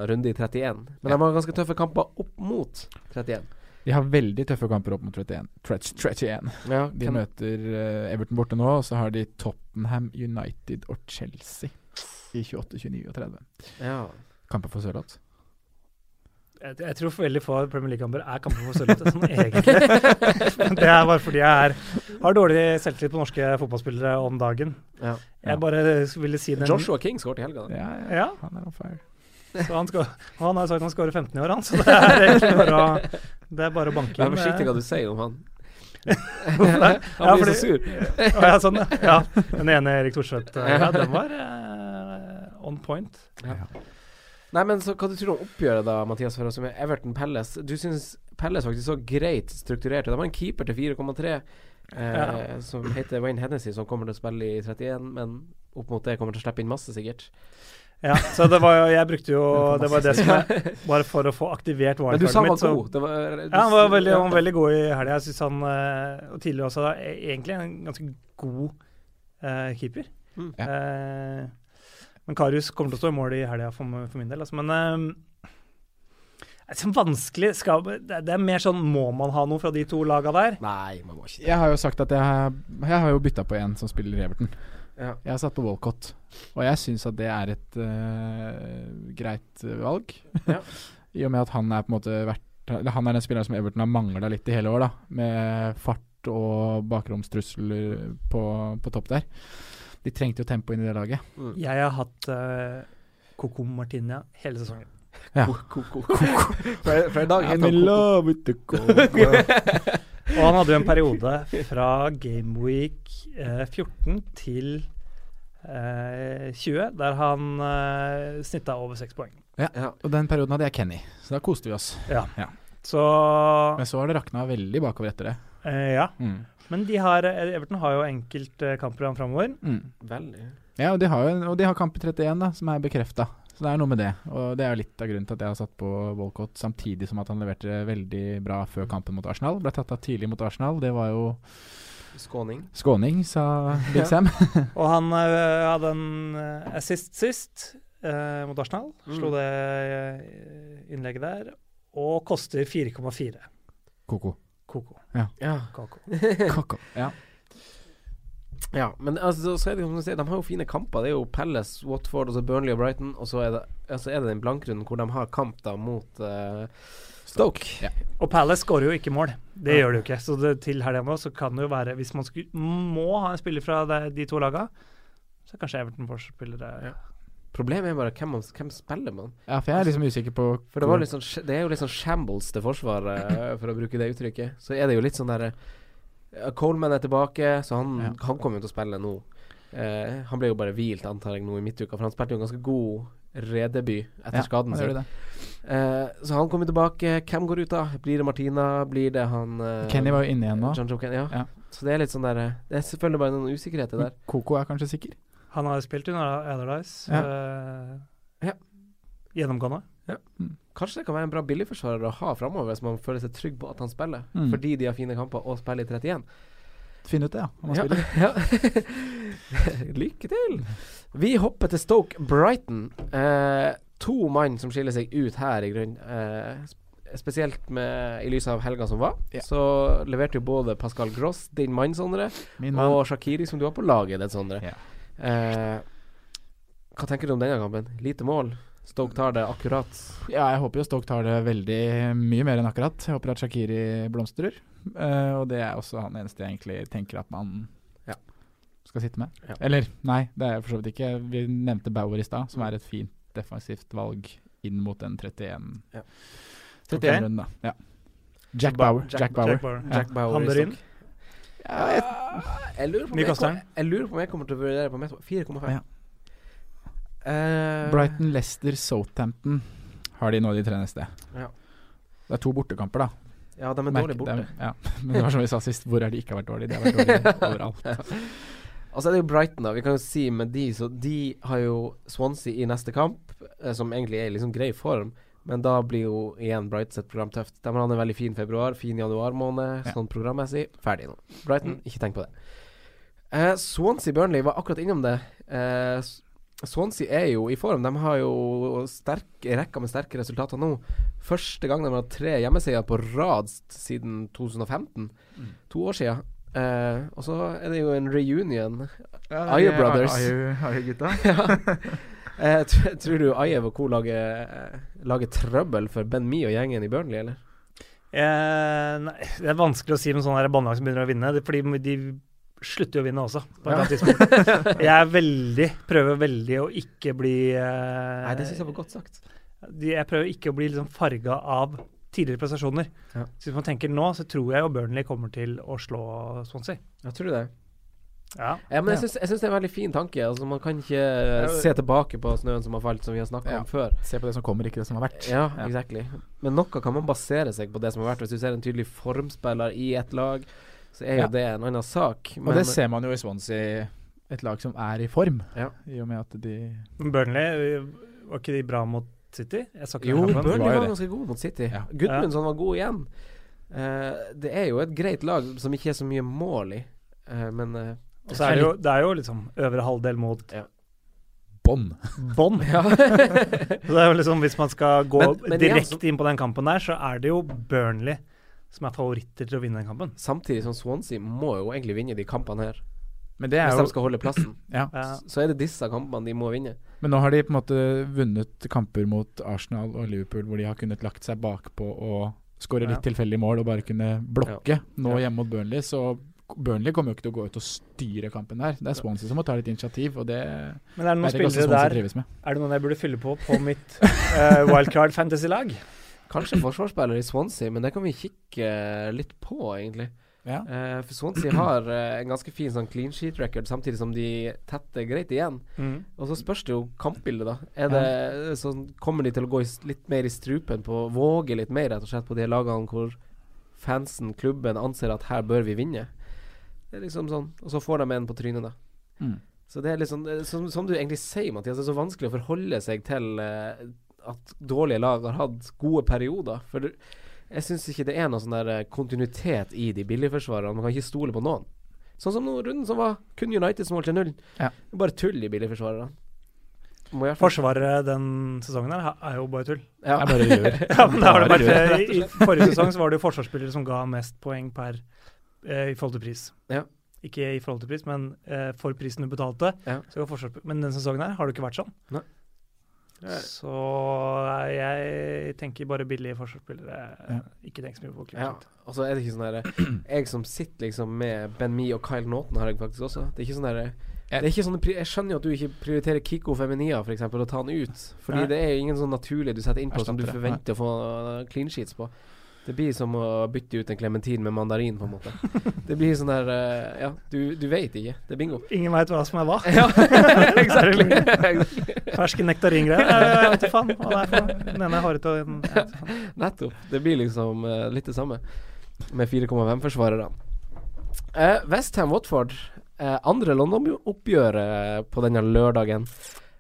Speaker 2: runde i 31. Men de har ganske tøffe kamper opp mot 31.
Speaker 4: De har veldig tøffe kamper opp mot 31. Tretch- 31.
Speaker 2: Ja,
Speaker 4: De møter eh, Everton borte nå, og så har de Tottenham, United og Chelsea i 28, 29 og 30.
Speaker 2: ja.
Speaker 4: Kamper for Sørloth.
Speaker 3: Jeg, jeg tror veldig få Premier League-kamper er kamper for sølvet, sånn egentlig. Men det er bare fordi jeg er, har dårlig selvtillit på norske fotballspillere om dagen.
Speaker 2: Ja.
Speaker 4: Ja.
Speaker 3: Jeg bare ville si den
Speaker 2: Joshua King skåret i helga. da.
Speaker 4: Ja, ja,
Speaker 3: Ja,
Speaker 4: han er on fire.
Speaker 3: så han, skal, og han har jo sagt han skårer 15 i år, han, så det er egentlig bare å, det er bare å banke
Speaker 2: Vær
Speaker 3: inn. eh.
Speaker 2: forsiktig hva du sier om han. Han
Speaker 3: Ja,
Speaker 2: blir
Speaker 3: fordi-
Speaker 2: så sur.
Speaker 3: Å, ja, sånn, ja. ja. Den ene Erik Thorstvedt, ja, den var eh, on point.
Speaker 2: Nei, men så Hva du tror du om oppgjøret, da, Mathias Føraas, med Everton Palace? Du syns Palace faktisk så greit strukturert ut. De har en keeper til 4,3 eh,
Speaker 3: Ja.
Speaker 2: som heter Wayne Hennessy, som kommer til å spille i 31, men opp mot det kommer til å slippe inn masse, sikkert.
Speaker 3: Ja, så det var jo Jeg brukte jo Det var det som jeg
Speaker 2: men
Speaker 3: Bare for å få aktivert
Speaker 2: du sa
Speaker 3: wildcardet
Speaker 2: han
Speaker 3: mitt.
Speaker 2: var
Speaker 3: Så,
Speaker 2: god. Det var, du,
Speaker 3: ja, han var veldig, han var
Speaker 2: ja.
Speaker 3: veldig god i helga. Jeg syns han eh, Og tidligere også, da, e- egentlig en ganske god eh, keeper.
Speaker 2: Mm.
Speaker 4: Ja.
Speaker 3: Eh, men Karius kommer til å stå i mål i helga for, m- for min del, altså. Men eh, det er sånn vanskelig skal, det, er- det er mer sånn Må man ha noe fra de to laga der?
Speaker 2: Nei, man må ikke det.
Speaker 4: Jeg har jo sagt at jeg, har- jeg har jo bytta på en som spiller i Everton.
Speaker 2: Ja.
Speaker 4: Jeg har satt på Walcott, og jeg syns at det er et eh, greit eh, valg.
Speaker 2: Ja.
Speaker 4: I og med at han er på en måte vært, eller han er den spilleren som Everton har mangla litt i hele år, da. Med fart og bakromstrusler på, på topp der. De trengte jo tempo inn i det laget.
Speaker 3: Jeg har hatt eh, Coco Martinia hele sesongen.
Speaker 4: Ja.
Speaker 2: Ko-ko. For, for i dag heter han Ko-ko.
Speaker 4: love with the cold.
Speaker 3: Og han hadde jo en periode fra Gameweek eh, 14 til eh, 20 der han eh, snitta over seks poeng.
Speaker 2: Ja.
Speaker 4: og den perioden hadde jeg Kenny, så da koste vi oss.
Speaker 3: Så
Speaker 4: Men så har det rakna veldig bakover etter det.
Speaker 3: eh, ja.
Speaker 4: Mm.
Speaker 3: Men de har, eh, Everton har jo enkeltkamper framover.
Speaker 4: Mm.
Speaker 2: Veldig.
Speaker 4: Ja, og de har, jo en, og de har kamp i 31, da, som er bekrefta. Så det er noe med det. Og det er jo litt av grunnen til at jeg har satt på Walcott, samtidig som at han leverte veldig bra før kampen mot Arsenal. Ble tatt av tidlig mot Arsenal. Det var jo
Speaker 2: Skåning.
Speaker 4: skåning, sa Big Sam.
Speaker 3: Og han eh, hadde en eh, assist sist eh, mot Arsenal. Slo
Speaker 2: Mm.
Speaker 3: det eh, innlegget der. Og koster 4,4.
Speaker 4: Koko.
Speaker 3: Koko.
Speaker 2: Ja.
Speaker 3: Koko.
Speaker 4: Koko. Ja.
Speaker 2: Ja, men altså, så er det, jo som du sier, de har jo fine kamper. Det er jo Palace, Watford, og så Burnley og Brighton. Og så er det, altså, er det den blankrunden hvor de har kamp da mot eh, Stoke.
Speaker 3: Og Palace skårer jo ikke mål. Det gjør det jo ikke. Så det, til helga nå så kan det jo være Hvis man skulle, må ha en spiller fra de, de to laga, så kanskje Everton får eh, spillere
Speaker 2: Ja. Problemet er bare hvem, man- hvem spiller man?
Speaker 4: ja, for jeg er liksom usikker på
Speaker 2: For det, var litt sånn, sh- det er jo litt sånn shambles til forsvar, eh, for å bruke det uttrykket. Så er det jo litt sånn derre Coleman er tilbake, så han,
Speaker 4: Ja.
Speaker 2: han kommer jo til å spille nå. Eh, han ble jo bare hvilt, antar jeg, nå i midtuka, for han spilte jo en ganske god redebut etter
Speaker 4: ja,
Speaker 2: skaden
Speaker 4: han
Speaker 2: sin.
Speaker 4: gjør det.
Speaker 2: Eh, så han kommer tilbake. Hvem går ut da? Blir det Martina? Blir det han eh,
Speaker 4: Kenny var jo inne igjen nå.
Speaker 2: John Joe Kenny, ja.
Speaker 4: Ja.
Speaker 2: Så det er litt sånn der eh, Det er selvfølgelig bare noen usikkerheter der.
Speaker 4: Koko er kanskje sikker.
Speaker 3: Han har spilt under Allardyce. eh,
Speaker 2: Ja.
Speaker 3: Gjennomgående.
Speaker 2: Kanskje det kan være en bra billigforsvarer å ha framover, hvis man føler seg trygg på at han spiller.
Speaker 4: Mm.
Speaker 2: Fordi de har fine kamper og spiller i 31.
Speaker 4: Finn ut det, ja. Om han
Speaker 2: Ja.
Speaker 4: spiller.
Speaker 2: Ja. Lykke til! Vi hopper til Stoke Brighton. Eh, to mann som skiller seg ut her, i grunnen. Eh, sp- spesielt med, i lys av helga som var.
Speaker 4: Ja.
Speaker 2: Så leverte jo både Pascal Gross, din mann, Sondre,
Speaker 4: Min mann.
Speaker 2: og Shakiri, som du har på laget ditt, Sondre.
Speaker 4: Ja.
Speaker 2: Eh, hva tenker du om denne kampen? Lite mål. Stoke tar det akkurat.
Speaker 4: Ja, jeg håper jo Stoke tar det veldig eh, mye mer enn akkurat. Jeg håper at Shakiri blomstrer. Eh, og det er også han eneste jeg egentlig tenker at man
Speaker 2: Ja.
Speaker 4: skal sitte med.
Speaker 2: Ja.
Speaker 4: Eller, nei, det er jeg for så vidt ikke. Vi nevnte Bauer i stad, som er et fint defensivt valg inn mot den 31
Speaker 2: Ja.
Speaker 4: 31 runden, da. Ja. Jack Bauer. Jack, Bauer.
Speaker 3: Jack Bauer.
Speaker 4: Ja.
Speaker 2: Jack Bauer
Speaker 3: Han
Speaker 2: i
Speaker 3: bør
Speaker 2: Stoke.
Speaker 3: inn.
Speaker 4: Ja,
Speaker 2: Ja, jeg, jeg, lurer på om
Speaker 3: Mye
Speaker 2: jeg
Speaker 3: koster
Speaker 2: kom-
Speaker 3: den?
Speaker 2: Jeg lurer på om jeg kommer til å vurdere på mest 4,5.
Speaker 4: Ja.
Speaker 2: Eh,
Speaker 4: Brighton, Leicester, Southampton har de nå de tre neste.
Speaker 2: Ja.
Speaker 4: Det er to bortekamper, da.
Speaker 2: Ja, de er
Speaker 4: Merke-
Speaker 2: dårlig borte.
Speaker 4: det er- ja. Men det var som vi sa sist, hvor er de ikke har vært dårlige? De har vært dårlige overalt.
Speaker 2: Og så er Altså, det jo Brighton, da. Vi kan jo si med de så De har jo Swansea i neste kamp, eh, som egentlig er i liksom grei form. Men da blir jo igjen Brighton sitt program tøft. De har hatt en veldig fin februar, fin januar måned,
Speaker 4: Ja.
Speaker 2: sånn programmessig. Ferdig nå. Brighton, ikke tenk på det. Eh, Swansea Burnley var akkurat innom det. Eh, S- Swansea er jo i form. De har jo sterk, rekka med sterke resultater nå. Første gang de har hatt tre hjemmesider på rad s- siden 2015. To år siden. Eh, og så er det jo en reunion. Ayer de- Brothers.
Speaker 4: Ayer-gutta.
Speaker 2: Eh, tr- tror du Ajev og co. lager, eh, lager trøbbel for Ben Mi og gjengen i Burnley, eller?
Speaker 3: Eh, nei, det er vanskelig å si med sånne her båndlag som begynner å vinne, det- fordi de slutter jo å vinne også. På et eller annet tidspunkt. Jeg er veldig, prøver veldig å ikke bli eh,
Speaker 2: Nei, det syns jeg var godt sagt.
Speaker 3: de- Jeg prøver ikke å bli liksom farga av tidligere prestasjoner.
Speaker 2: Ja.
Speaker 3: Så hvis man tenker nå, så tror jeg jo Burnley kommer til å slå Swansea.
Speaker 2: Ja, tror du det?
Speaker 3: Ja.
Speaker 2: Ja, men
Speaker 4: Ja.
Speaker 2: jeg syns, jeg syns det er en veldig fin tanke. Altså, man kan ikke eh,
Speaker 4: jo-
Speaker 2: se tilbake på snøen som har falt, som vi har snakka
Speaker 4: Ja.
Speaker 2: om før.
Speaker 4: Se på det som kommer, ikke det som har vært.
Speaker 2: Ja, exactly. Men noe kan man basere seg på det som har vært. Hvis du ser en tydelig formspiller i et lag, så er jo
Speaker 4: Ja.
Speaker 2: det en annen sak.
Speaker 4: Og det ser man jo i Swansea, et lag som er i form,
Speaker 2: Ja.
Speaker 4: i og med at de
Speaker 3: Men Burnley, eh, var ikke de bra mot City? Jeg så ikke
Speaker 2: Jo,
Speaker 3: den kampen.
Speaker 2: Burnley
Speaker 4: Det var jo
Speaker 2: var
Speaker 4: det.
Speaker 2: ganske god mot City.
Speaker 4: Ja.
Speaker 2: Gudmundsson var god igjen. Eh, det er jo et greit lag som ikke er så mye mål i, eh, men eh,
Speaker 3: Og så er det jo, det er jo liksom øvre halvdel mot
Speaker 4: bånn.
Speaker 3: bånn. Så det er jo liksom, Hvis man skal gå
Speaker 2: Men- men igjen
Speaker 3: direkte inn på den kampen der, så er det jo Burnley som er favoritter til å vinne den kampen.
Speaker 2: Samtidig som Swansea må jo egentlig vinne de kampene her.
Speaker 4: Men det er
Speaker 2: Hvis
Speaker 4: jo
Speaker 2: de skal holde plassen,
Speaker 4: ja.
Speaker 3: Ja.
Speaker 2: så er det disse kampene de må vinne.
Speaker 4: Men nå har de på en måte vunnet kamper mot Arsenal og Liverpool hvor de har kunnet lagt seg bakpå og skåre litt
Speaker 3: Ja.
Speaker 4: tilfeldige mål og bare kunne blokke. Nå hjemme mot Burnley, så Burnley kommer jo ikke til å gå ut og styre kampen der. Det er Swansea som må ta litt initiativ, og det er
Speaker 3: Men er det noen
Speaker 4: det ganske
Speaker 3: spillere
Speaker 4: Swansea
Speaker 3: der
Speaker 4: trives med.
Speaker 3: Er det noen jeg burde fylle på på mitt eh, wildcard fantasy-lag?
Speaker 2: Kanskje forsvarsspiller i Swansea, men det kan vi kikke eh, litt på, egentlig.
Speaker 4: Ja.
Speaker 2: Eh, for Swansea har eh, en ganske fin sånn clean sheet record, samtidig som de tetter greit igjen. Og så spørs det jo kampbildet, da. Er det, sånn, kommer de til å gå i, s- litt mer i strupen på Våge litt mer, rett og slett, på de lagene hvor fansen, klubben, anser at her bør vi vinne? Det er liksom sånn. Og så får de en på trynet, da.
Speaker 4: Mm.
Speaker 2: Så det er litt sånn, eh, som, som du egentlig sier, Mathias, det er så vanskelig å forholde seg til eh, at dårlige lag har hatt gode perioder. For du- jeg syns ikke det er noe sånn der eh, kontinuitet i de billigforsvarerne. Man kan ikke stole på noen. Sånn som nå runden som var, kun United som holdt til null.
Speaker 4: Ja.
Speaker 2: Det er Bare tull, de billigforsvarerne. Må i hvert fall-
Speaker 3: Forsvaret den sesongen her ha- er jo bare tull.
Speaker 2: Ja.
Speaker 4: Jeg bare gjør.
Speaker 3: Ja, men det har det
Speaker 4: Bare gjør.
Speaker 3: vært, I i forrige sesong så var det jo forsvarsspillere som ga mest poeng per eh, i forhold til pris.
Speaker 2: Ja.
Speaker 3: Ikke i forhold til pris, men eh, for prisen du betalte.
Speaker 2: Ja.
Speaker 3: Så var forsvarsspill- men denne sesongen her har det ikke vært sånn.
Speaker 2: Nei.
Speaker 3: Så eh, jeg tenker bare billige forsvarsspillere. eh,
Speaker 4: Ja.
Speaker 3: Ikke tenk så mye på
Speaker 2: Ja,
Speaker 3: klubbsnitt.
Speaker 2: og så er det ikke sånn derre Jeg som sitter liksom med Ben Mee og Kyle Naughton, har jeg faktisk også. Det er ikke sånn derre det er ikke sånn, Jeg skjønner jo at du ikke prioriterer Kiko Feminia for eksempel, og tar han ut. Fordi
Speaker 3: Nei.
Speaker 2: det er jo ingen sånn naturlig du setter inn på som du
Speaker 4: Erstatter det.
Speaker 2: forventer å få uh, clean sheets på. Det blir som å bytte ut en klementin med mandarin, på en måte. Det blir sånn der uh, Ja, du, du veit ikke. Det er bingo.
Speaker 3: Ingen veit hva som er hva.
Speaker 2: Ja, exactly.
Speaker 3: Ferske nektaringreier. Jeg, jeg vet ikke faen hva det er for noe. Den ene er hårete og den jeg vet ikke faen.
Speaker 2: Nettopp. Det blir liksom eh, litt det samme med 4,5-forsvarerne. Uh, Westham Watford, eh, andre London-oppgjøret eh, på denne lørdagen.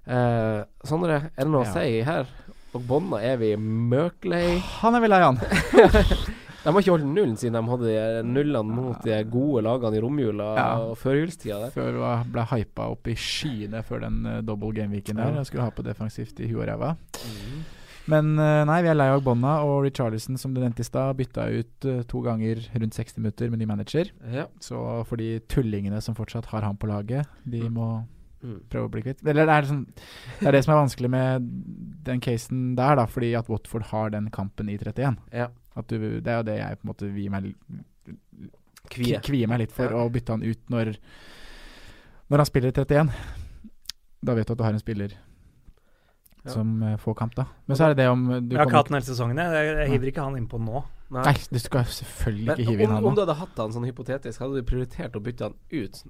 Speaker 2: Eh, Sondre, er det noe
Speaker 4: Ja.
Speaker 2: å si her? Og bånda er vi møklei.
Speaker 4: Han er vel lei, han.
Speaker 2: De har ikke holdt nullen siden de hadde de nullene mot de gode lagene i romjula
Speaker 4: Ja.
Speaker 2: og førjulstida der.
Speaker 4: Før var- ble hypa opp i skyene før den eh, double game-weeken der.
Speaker 2: Ja.
Speaker 4: Jeg skulle ha på defensivt i huet og ræva. Mm. Men eh, nei, vi er lei av Bonna, og Richarlison, som du nevnte i stad, bytta ut eh, to ganger rundt 60 minutter med ny manager.
Speaker 2: Ja.
Speaker 4: Så for de tullingene som fortsatt har han på laget, de
Speaker 2: Mm.
Speaker 4: må
Speaker 2: Mm.
Speaker 4: prøve å bli kvitt Eller det er, sånn, det er det som er vanskelig med den casen der, da, fordi at Watford har den kampen i 31.
Speaker 2: Ja.
Speaker 4: At du, det er jo det jeg på en måte vier meg,
Speaker 2: Kvie.
Speaker 4: kvier meg litt for,
Speaker 2: Ja.
Speaker 4: å bytte han ut når, når han spiller i 31. Da vet du at du har en spiller
Speaker 2: Ja.
Speaker 4: som eh, får kamp, da. Men så er det det om du
Speaker 3: Jeg har ikke
Speaker 4: kommer
Speaker 3: hatt den hele sesongen, jeg. Jeg, jeg hiver ikke han innpå nå.
Speaker 2: Nei.
Speaker 4: Nei, du skal selvfølgelig
Speaker 2: Men
Speaker 4: ikke hive inn
Speaker 2: om,
Speaker 4: han nå.
Speaker 2: om du hadde hatt han sånn hypotetisk, hadde du prioritert å bytte han ut,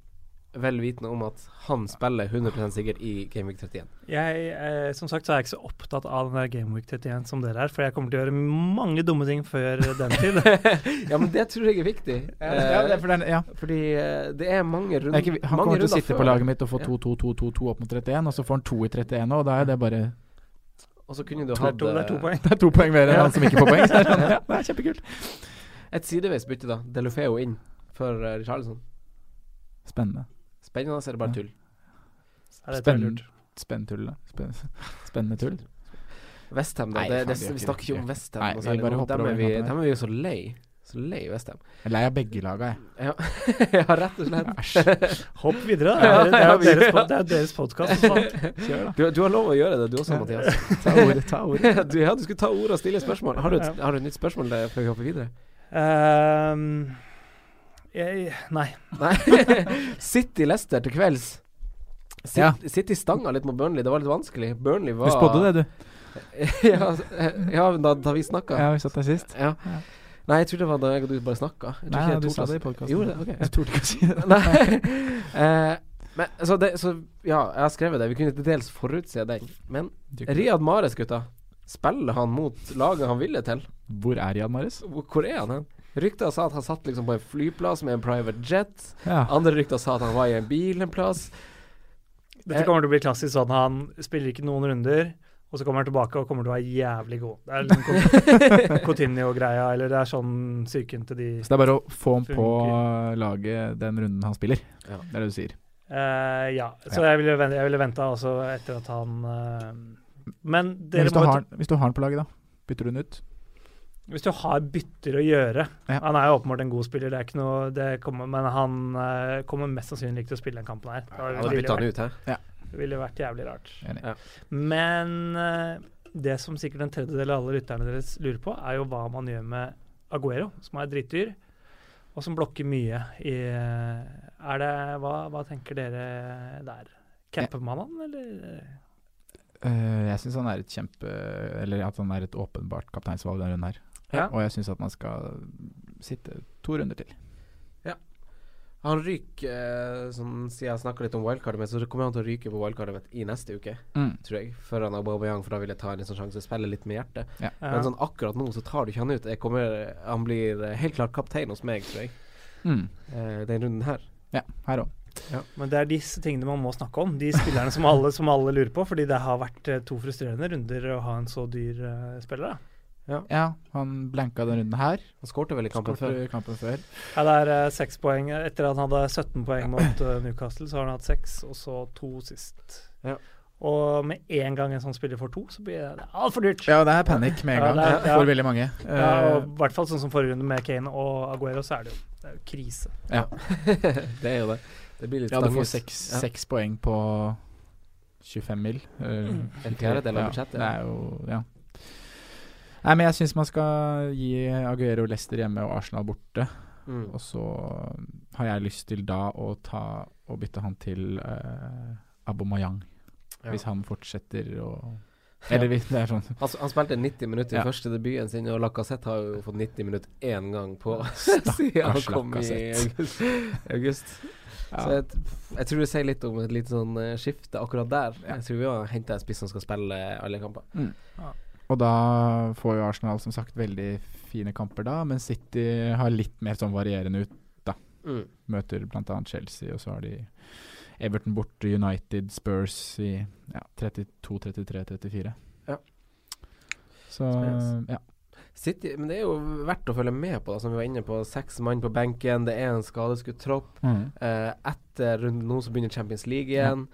Speaker 2: vel vitende om at han spiller 100 sikkert i Game Week 31?
Speaker 3: Jeg, eh, som sagt så er jeg ikke så opptatt av den der Gameweek 31 som dere er, for jeg kommer til å gjøre mange dumme ting før den tid.
Speaker 2: ja, men det tror jeg er viktig.
Speaker 4: Ja, det er for den, ja.
Speaker 2: Fordi eh, det er mange
Speaker 4: Det
Speaker 2: runder
Speaker 4: er ikke, han kommer
Speaker 2: mange
Speaker 4: til å
Speaker 2: runder
Speaker 4: sitte på
Speaker 2: før,
Speaker 4: laget mitt og få
Speaker 2: Ja.
Speaker 4: 2-2-2-2-2 opp mot 31, og så får han 2 i 31 nå, og da er det bare
Speaker 2: Og så kunne du
Speaker 3: Det er
Speaker 2: hatt
Speaker 3: to, det er to
Speaker 2: eh,
Speaker 3: poeng.
Speaker 4: Det er to poeng mer enn han som ikke får poeng. Så er det sånn, ja, det er kjempekult.
Speaker 2: et sideveis bytte, da. Delofeo inn for eh, Richarlison.
Speaker 4: Spennende.
Speaker 2: Spennende, så er det bare tull.
Speaker 3: Ja, det tror jeg er lurt.
Speaker 4: Spennende tull, da. Spenn- Spennende tull.
Speaker 2: Westham, da.
Speaker 4: Nei,
Speaker 2: det,
Speaker 4: faen,
Speaker 2: det,
Speaker 4: vi gjør
Speaker 2: vi
Speaker 4: ikke
Speaker 2: snakker
Speaker 4: det.
Speaker 2: ikke om Westham.
Speaker 4: Nei,
Speaker 2: noe
Speaker 4: vi
Speaker 2: særlig
Speaker 4: bare
Speaker 2: nå.
Speaker 4: hopper
Speaker 2: Dem
Speaker 4: over
Speaker 2: er vi,
Speaker 4: den kampen her.
Speaker 2: dem er vi jo så lei. Så lei Westham.
Speaker 4: Jeg er lei av begge laga, jeg.
Speaker 2: Ja. ja, rett og slett.
Speaker 4: Æsj.
Speaker 3: Hopp videre, da. Det er, det er jo deres, pod- det er jo deres podkast.
Speaker 4: Kjør, da.
Speaker 2: Du, du har lov å gjøre det, du også, Mathias.
Speaker 4: Ta ordet, ta ordet.
Speaker 2: du, ja, du skulle ta ordet og stille spørsmål. Har du et,
Speaker 3: Ja.
Speaker 2: har du et nytt spørsmål der før vi hopper videre?
Speaker 3: Ehm, jeg, nei.
Speaker 2: Nei. City Leicester til kvelds. Sit,
Speaker 4: Ja.
Speaker 2: City stanga litt mot Burnley, det var litt vanskelig. Burnley var
Speaker 4: Du spådde det, du.
Speaker 2: ja, eh, ja, da, da vi snakka. Ja.
Speaker 4: Ja, vi satt der sist. Ja.
Speaker 2: Nei, jeg tror det var da jeg og du bare snakka. Jeg tror
Speaker 4: Nei,
Speaker 2: ikke jeg
Speaker 4: du
Speaker 2: tok
Speaker 4: sa
Speaker 2: oss-
Speaker 4: det i podkasten.
Speaker 2: Gjorde det? Ok.
Speaker 4: Jeg torde ikke å si det.
Speaker 2: Nei. Eh, men, så, det, så ja, jeg har skrevet det. Vi kunne til dels forutse den. Men Riyad Mahrez, gutta. Spiller han mot laget han ville til?
Speaker 4: Hvor er Jan Marius?
Speaker 2: Hvor hvor er han hen? Rykter sa at han satt liksom på en flyplass med en private jet.
Speaker 4: Ja.
Speaker 2: Andre rykter sa at han var i en bil en plass.
Speaker 3: Dette kommer til å bli klassisk sånn han spiller ikke noen runder, og så kommer han tilbake og kommer til å være jævlig god. Det er liksom Cot- Coutinho-greia, eller det er sånn psyken til de
Speaker 4: Så det er bare å få ham på
Speaker 3: Funker.
Speaker 4: laget den runden han spiller.
Speaker 2: Ja.
Speaker 4: Det er det du sier.
Speaker 3: Eh, Ja, så
Speaker 4: Ja.
Speaker 3: jeg ville, ven- jeg ville venta også etter at han eh, Men
Speaker 4: Men
Speaker 3: dere
Speaker 4: hvis, du
Speaker 3: må jo
Speaker 4: har, hvis du har han på laget, da? Bytter du den ut?
Speaker 3: Hvis du har bytter å gjøre
Speaker 4: Ja.
Speaker 3: Han er jo åpenbart en god spiller, det er ikke noe det kommer, men han eh, kommer mest sannsynlig ikke til å spille den kampen her. Da ville
Speaker 2: Ja, da
Speaker 3: det
Speaker 2: bytta han
Speaker 3: vært-
Speaker 2: ut, hæ?
Speaker 3: ville vært jævlig rart.
Speaker 4: Enig.
Speaker 2: Ja.
Speaker 3: Men eh, det som sikkert en tredjedel av alle lytterne deres lurer på, er jo hva man gjør med Aguero, som er drittdyr, og som blokker mye i Er det Hva, hva tenker dere der? Camper man han, eller?
Speaker 4: Eh, jeg syns han er et kjempe Eller at han er et åpenbart kapteinsvalg denne runden her.
Speaker 3: Ja.
Speaker 4: Og jeg syns at man skal sitte to runder til.
Speaker 2: Han ryker, eh, som siden jeg snakka litt om wildcardet mitt, så kommer han til å ryke på wildcardet mitt i neste uke,
Speaker 4: Mm.
Speaker 2: tror jeg. Før han Aubameyang, for da vil jeg ta en sånn sjanse og spille litt med hjertet. Men sånn akkurat nå så tar du ikke han ut. Jeg kommer, han blir eh, helt klart kaptein hos meg, tror jeg,
Speaker 4: Mm.
Speaker 2: eh, den runden her.
Speaker 4: Ja, her òg.
Speaker 3: Men det er disse tingene man må snakke om. De spillerne som alle, som alle lurer på. Fordi det har vært eh, to frustrerende runder å ha en så dyr eh, spiller. Da.
Speaker 4: Ja, han blanka den runden her.
Speaker 2: Han skårte vel i kampen før.
Speaker 4: Skårte kampen før.
Speaker 3: Ja, det er eh, seks poeng. Etter at han hadde 17 poeng mot eh, Newcastle, så har han hatt seks, og så to sist.
Speaker 2: Ja.
Speaker 3: Og med en gang en sånn spiller får to, så blir det altfor dyrt.
Speaker 4: Ja, det er panikk med en
Speaker 3: Ja,
Speaker 4: gang
Speaker 3: det er- ja.
Speaker 4: for veldig mange.
Speaker 3: Ja,
Speaker 4: Eh,
Speaker 3: og I hvert fall sånn som forrige runde med Kane og Aguero, så er det jo, det er jo krise.
Speaker 2: det er jo det. Det blir litt
Speaker 4: ja, du får
Speaker 2: stanges.
Speaker 4: seks,
Speaker 2: Ja.
Speaker 4: seks poeng på 25 mil. eh,
Speaker 2: En fjerdedel av budsjettet.
Speaker 4: Ja, det er jo Ja. Nei, men jeg syns man skal gi Aguero Leicester hjemme og Arsenal borte.
Speaker 2: Mm.
Speaker 4: Og så eh, har jeg lyst til da å ta og bytte han til uh, Abomayang.
Speaker 2: Ja.
Speaker 4: Hvis han fortsetter å Eller hvis det er sånn
Speaker 2: Han, han spilte 90 minutter i
Speaker 4: Ja.
Speaker 2: første debuten sin, og Lacassette har jo fått 90 minutter én gang på siden han kom i
Speaker 4: Lacazette.
Speaker 2: august. august. Så
Speaker 4: ja.
Speaker 2: jeg, t- jeg tror det sier litt om et litt sånn eh, skifte akkurat der. Jeg tror vi har henta en spiss som skal spille eh, alle kamper.
Speaker 4: Mm. Og da får jo Arsenal som sagt veldig fine kamper da, men City har litt mer sånn varierende ut.
Speaker 2: Mm.
Speaker 4: Møter bl.a. Chelsea, og så har de Everton borte, United, Spurs i ja, 32, 33, 34.
Speaker 2: Ja.
Speaker 4: Så
Speaker 2: Spennende.
Speaker 4: ja.
Speaker 2: City, men det er jo verdt å følge med på, da, som vi var inne på. Seks mann på benken, det er en skadeskutt tropp.
Speaker 4: Mhm.
Speaker 2: Eh, etter runden nå så begynner Champions League igjen.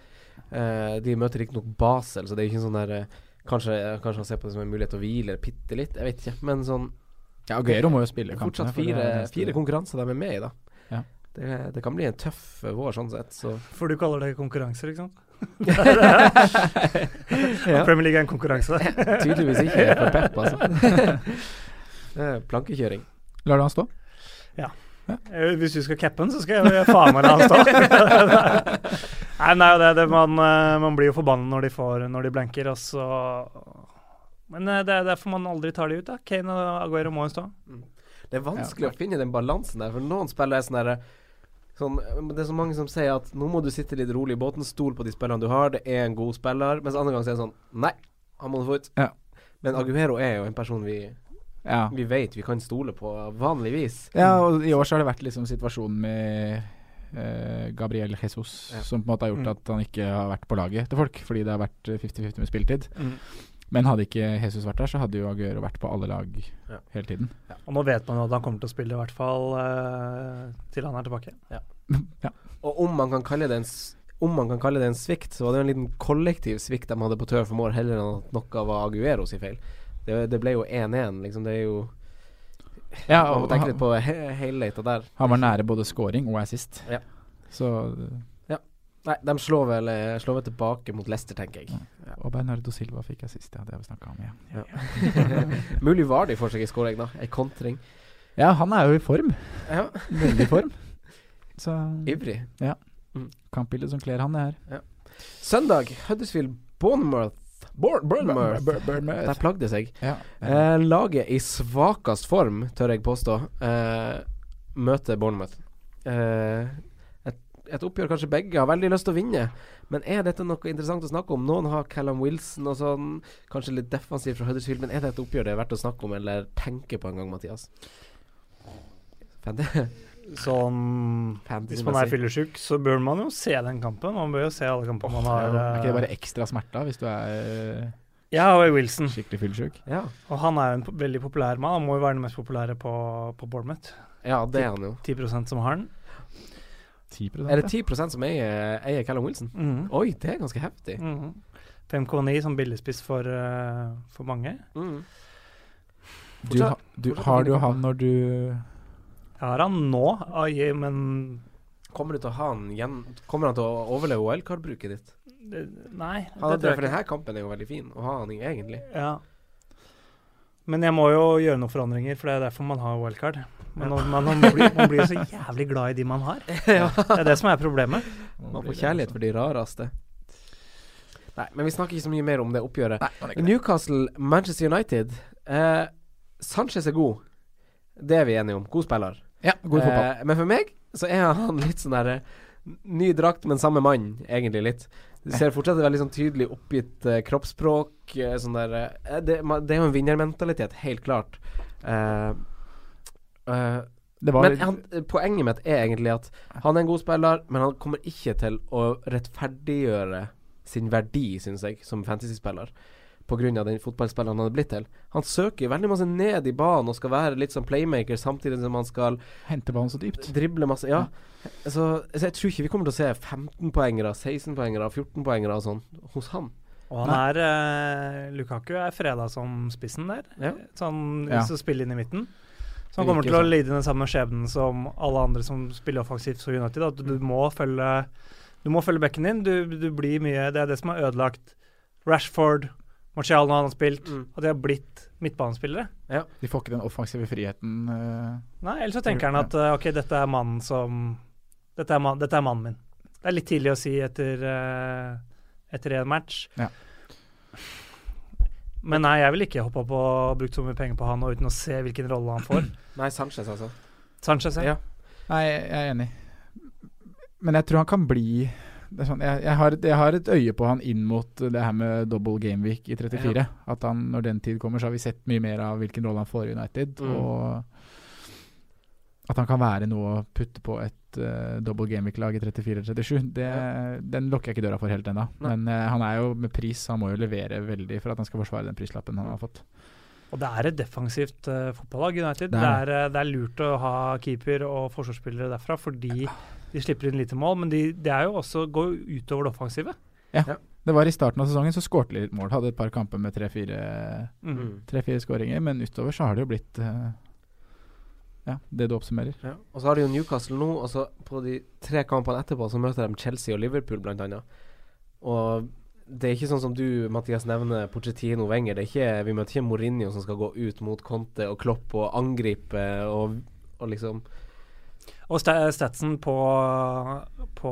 Speaker 2: Eh, de møter riktignok Basel, så det er ikke sånn der eh, Kanskje, kanskje han ser på det som en mulighet til å hvile bitte litt, jeg vet ikke. Men sånn
Speaker 4: Ja, Aguero må jo spille kampene.
Speaker 2: Fortsatt
Speaker 4: for det
Speaker 2: fire,
Speaker 4: er det neste-
Speaker 2: fire konkurranser de er med i, da.
Speaker 4: Ja.
Speaker 2: Det, det kan bli en tøff eh, vår, sånn sett. Så.
Speaker 3: For du kaller det konkurranser, ikke sant?
Speaker 2: Ja.
Speaker 3: Premier League er en konkurranse.
Speaker 2: Tydeligvis ikke for Pep, altså. Det er Plankekjøring.
Speaker 4: Lar du han stå?
Speaker 3: Eh, Hvis du skal cappe den, så skal jeg faen meg la han stå. Nei, nei det, det, man, eh, man blir jo forbanna når de får når de blanker, og så Men eh, det er derfor man aldri tar de ut, da. Kane og Aguero må jo stå.
Speaker 2: Det er vanskelig å finne den balansen der, for noen spillere er sånn derre Sånn, men det er så mange som sier at nå må du sitte litt rolig i båten, stol på de spillerne du har, det er en god spiller, mens andre ganger så er det sånn Nei, han må du få ut.
Speaker 4: Ja.
Speaker 2: Men Aguero er jo en person vi,
Speaker 4: Ja.
Speaker 2: vi vet vi kan stole på, vanligvis.
Speaker 4: ja, og i år så har det vært liksom situasjonen med eh, Gabriel Jesus
Speaker 2: Ja.
Speaker 4: som på en måte har gjort
Speaker 3: Mm.
Speaker 4: at han ikke har vært på laget til folk, fordi det har vært eh, 50-50 med spilletid.
Speaker 3: Mm.
Speaker 4: Men hadde ikke Jesus vært der, så hadde jo Aguero vært på alle lag
Speaker 2: Ja.
Speaker 4: hele tiden.
Speaker 3: Og nå vet man jo at han kommer til å spille, i hvert fall eh, til han er tilbake.
Speaker 4: ja.
Speaker 2: Og om man kan kalle det en s- om man kan kalle det en svikt, så var det jo en liten kollektiv svikt de hadde på Turf Moor, heller enn at noe var Aguero sin feil. Det, det ble jo 1-1, liksom. Det er jo
Speaker 4: ja,
Speaker 2: Man må
Speaker 4: og
Speaker 2: tenke
Speaker 4: han,
Speaker 2: litt på he helheten der.
Speaker 4: han var nære både scoring og assist.
Speaker 2: Ja.
Speaker 4: Så eh,
Speaker 2: Nei, de slår vel, eh, slår vel tilbake mot Leicester, tenker jeg.
Speaker 4: Og Bernardo Silva fikk assist, ja. Det har vi snakka om, ja.
Speaker 2: Mulig var de for seg i skåring, da. Ei kontring.
Speaker 4: Ja, han er jo i form.
Speaker 2: Ja,
Speaker 4: Veldig i form. Så
Speaker 2: ivrig.
Speaker 4: kampbildet som kler han, det her.
Speaker 2: Søndag, Huddersfield Bournemouth. Bour- Bournemouth. Der plagde det seg.
Speaker 4: Ja.
Speaker 2: Eh, laget i svakest form, tør jeg påstå, eh, møter Bournemouth. Eh, et, et oppgjør kanskje begge har veldig lyst til å vinne, men er dette noe interessant å snakke om? Noen har Callum Wilson og sånn, kanskje litt defensivt fra Huddersfield, men er det et oppgjør det er verdt å snakke om eller tenke på en gang, Mathias? Fant-
Speaker 3: Sånn Hvis man er
Speaker 2: Fantasy-messig.
Speaker 3: fyllesyk, så bør man jo se den kampen. Man bør jo se alle kampene man har.
Speaker 4: er ikke det
Speaker 3: eh,
Speaker 4: bare ekstra smerter hvis du er eh,
Speaker 3: Jeg har jo Wilson,
Speaker 4: skikkelig fyllesyk?
Speaker 2: Ja.
Speaker 3: og han er jo en po- veldig populær mann. Han må jo være den mest populære på, på Bournemouth.
Speaker 2: ja, det er han jo.
Speaker 3: 10 som har den.
Speaker 4: 10
Speaker 2: Er det 10 som eier, eier Callum Wilson?
Speaker 3: Mhm.
Speaker 2: Oi, det er ganske heftig.
Speaker 3: Mhm. 5,9 som billigspiss for, eh, for mange.
Speaker 2: Mm.
Speaker 4: du, ha- du,
Speaker 2: fortsatt
Speaker 4: Har
Speaker 2: fine
Speaker 4: du
Speaker 2: kamper.
Speaker 4: han når du
Speaker 3: Jeg har han nå, ai, men
Speaker 2: Kommer du til å ha han igjen Kommer han til å overleve OL-kardbruket ditt?
Speaker 3: det- Nei.
Speaker 2: Han
Speaker 3: det tror jeg
Speaker 2: for
Speaker 3: ikke.
Speaker 2: denne kampen er jo veldig fin å ha han i, egentlig.
Speaker 3: Ja. Men jeg må jo gjøre noen forandringer, for det er derfor man har wildcard. Men man, man, blir, man blir jo så jævlig glad i de man har. Det er det som er problemet.
Speaker 2: Man får kjærlighet for de rareste. Nei, men vi snakker ikke så mye mer om det oppgjøret.
Speaker 4: Nei, han er ikke det.
Speaker 2: Newcastle, Manchester United. Eh, Sanchez er god. Det er vi enige om. God spiller.
Speaker 4: Ja, god fotball.
Speaker 2: Eh, men for meg så er han litt sånn derre Ny drakt, men samme mann, egentlig litt. Du ser fortsatt et veldig sånn tydelig oppgitt eh, kroppsspråk. eh, sånn der, eh, det, man, det er jo en vinnermentalitet, helt klart. Eh, eh,
Speaker 4: Det var
Speaker 2: men han, poenget mitt er egentlig at han er en god spiller, men han kommer ikke til å rettferdiggjøre sin verdi, syns jeg, som fantasyspiller, pga. den fotballspilleren han er blitt til. Han søker veldig masse ned i banen og skal være litt som playmaker, samtidig som han skal
Speaker 4: hente ballen så dypt.
Speaker 2: drible masse. Ja. Så, så jeg tror ikke vi kommer til å se 15-poengere, 16-poengere, 14-poengere og sånn hos han.
Speaker 3: Og han er eh, Lukaku er freda som spissen der, Sånn,
Speaker 2: Ja.
Speaker 3: så han
Speaker 4: Ja.
Speaker 3: vil spille inn i midten. Så han
Speaker 2: Det
Speaker 3: kommer
Speaker 2: virker
Speaker 3: til å
Speaker 2: sånn.
Speaker 3: lide den samme skjebnen som alle andre som spiller offensivt for United. At du må følge Du må følge bekken din. Du, du blir mye Det er det som har ødelagt Rashford, Martial når han har spilt,
Speaker 2: Mm.
Speaker 3: at de har blitt midtbanespillere.
Speaker 4: De får ikke den offensive friheten. eh,
Speaker 3: Nei, ellers så tenker han at eh, OK, dette er mannen som Dette er, mann- dette er mannen min. Det er litt tidlig å si etter eh, Etter en match.
Speaker 4: Ja.
Speaker 3: Men nei, jeg ville ikke hoppa på og brukt så mye penger på han og uten å se hvilken rolle han får.
Speaker 2: Nei, Sanchez, altså.
Speaker 3: Sanchez, ja.
Speaker 2: Ja.
Speaker 4: Nei, jeg er enig. Men jeg tror han kan bli det er sånn, jeg, jeg, har, et- jeg har et øye på han inn mot det her med double gameweek i 34. At han, når den tid kommer, så har vi sett mye mer av hvilken rolle han får i United.
Speaker 2: Mm.
Speaker 4: Og at han kan være noe å putte på et eh, double gameweek-lag i 34-37. Det, Den lukker jeg ikke døra for helt ennå.
Speaker 2: Nei.
Speaker 4: Men eh, han er jo med pris, så han må jo levere veldig for at han skal forsvare den prislappen han har fått.
Speaker 3: Og det er et defensivt eh, fotballag, United.
Speaker 4: Det
Speaker 3: Det
Speaker 4: er
Speaker 3: er, eh, det er lurt å ha keeper og forsvarsspillere derfra fordi de slipper inn lite mål, men de, det er jo også går jo utover det offensive.
Speaker 4: Det var i starten av sesongen så skårte de litt mål. Hadde et par kamper med tre-fire
Speaker 3: Mm.
Speaker 4: tre-fire skåringer, men utover så har det jo blitt eh, ja, det du oppsummerer.
Speaker 2: Ja. Og så har de jo Newcastle nå, og så på de tre kampene etterpå så møter de Chelsea og Liverpool, blant annet. Og det er ikke sånn som du, Mathias, nevner Pochettino Wenger. Det er ikke, vi møter ikke Mourinho som skal gå ut mot Conte og Klopp og angripe og, og liksom
Speaker 3: Og sta- statsen på, på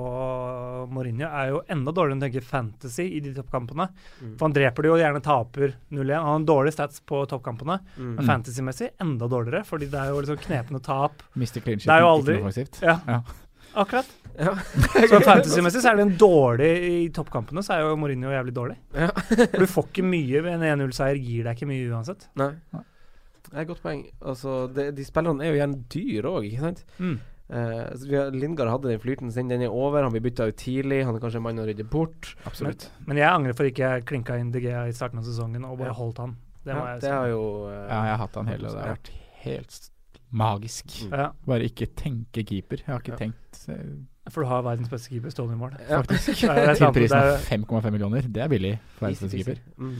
Speaker 3: Mourinho er jo enda dårligere enn å tenke fantasy i de toppkampene.
Speaker 2: Mm.
Speaker 3: For han dreper det jo og gjerne taper 0-1. Han har dårlige stats på toppkampene,
Speaker 2: Mm.
Speaker 3: men fantasymessig enda dårligere, fordi det er jo liksom knepne tap.
Speaker 4: Mister clean shit.
Speaker 3: Det er jo
Speaker 4: ikke
Speaker 3: aldri-
Speaker 4: noe offensivt.
Speaker 3: Ja,
Speaker 4: Ja.
Speaker 3: akkurat.
Speaker 2: Ja.
Speaker 3: Så fantasymessig så er det en dårlig i toppkampene, så er jo Mourinho jævlig dårlig.
Speaker 2: Ja.
Speaker 3: For du får ikke mye, en 1-0-seier gir deg ikke mye uansett.
Speaker 2: Nei.
Speaker 4: Nei.
Speaker 2: Det er et godt poeng. Altså, det, de spillerne er jo gjerne dyr òg, ikke sant?
Speaker 3: Mm.
Speaker 2: Eh, så vi har- Lingard hadde den flyten sin, den er over. Han blir bytta ut tidlig. Han er kanskje en mann å rydde bort.
Speaker 4: Absolutt.
Speaker 3: Men jeg angrer for ikke jeg klinka inn DG i starten av sesongen og bare
Speaker 2: Ja.
Speaker 3: holdt han. Det må
Speaker 2: ja,
Speaker 3: jeg
Speaker 2: det
Speaker 3: si.
Speaker 2: er jo eh,
Speaker 4: Ja, jeg har hatt han hele, og det har vært helt s- magisk.
Speaker 2: Mm.
Speaker 3: Ja,
Speaker 4: Bare ikke tenke keeper. Jeg har ikke
Speaker 2: Ja.
Speaker 4: tenkt eh,
Speaker 3: for du har verdens beste keeper stående i mål.
Speaker 2: ja.
Speaker 4: faktisk.
Speaker 3: Det er
Speaker 4: Til
Speaker 3: sant, det
Speaker 4: prisen
Speaker 3: er-
Speaker 4: av 5,5 millioner. Det er billig for
Speaker 2: Easy peasy.
Speaker 4: verdenskeeper.
Speaker 2: Mm.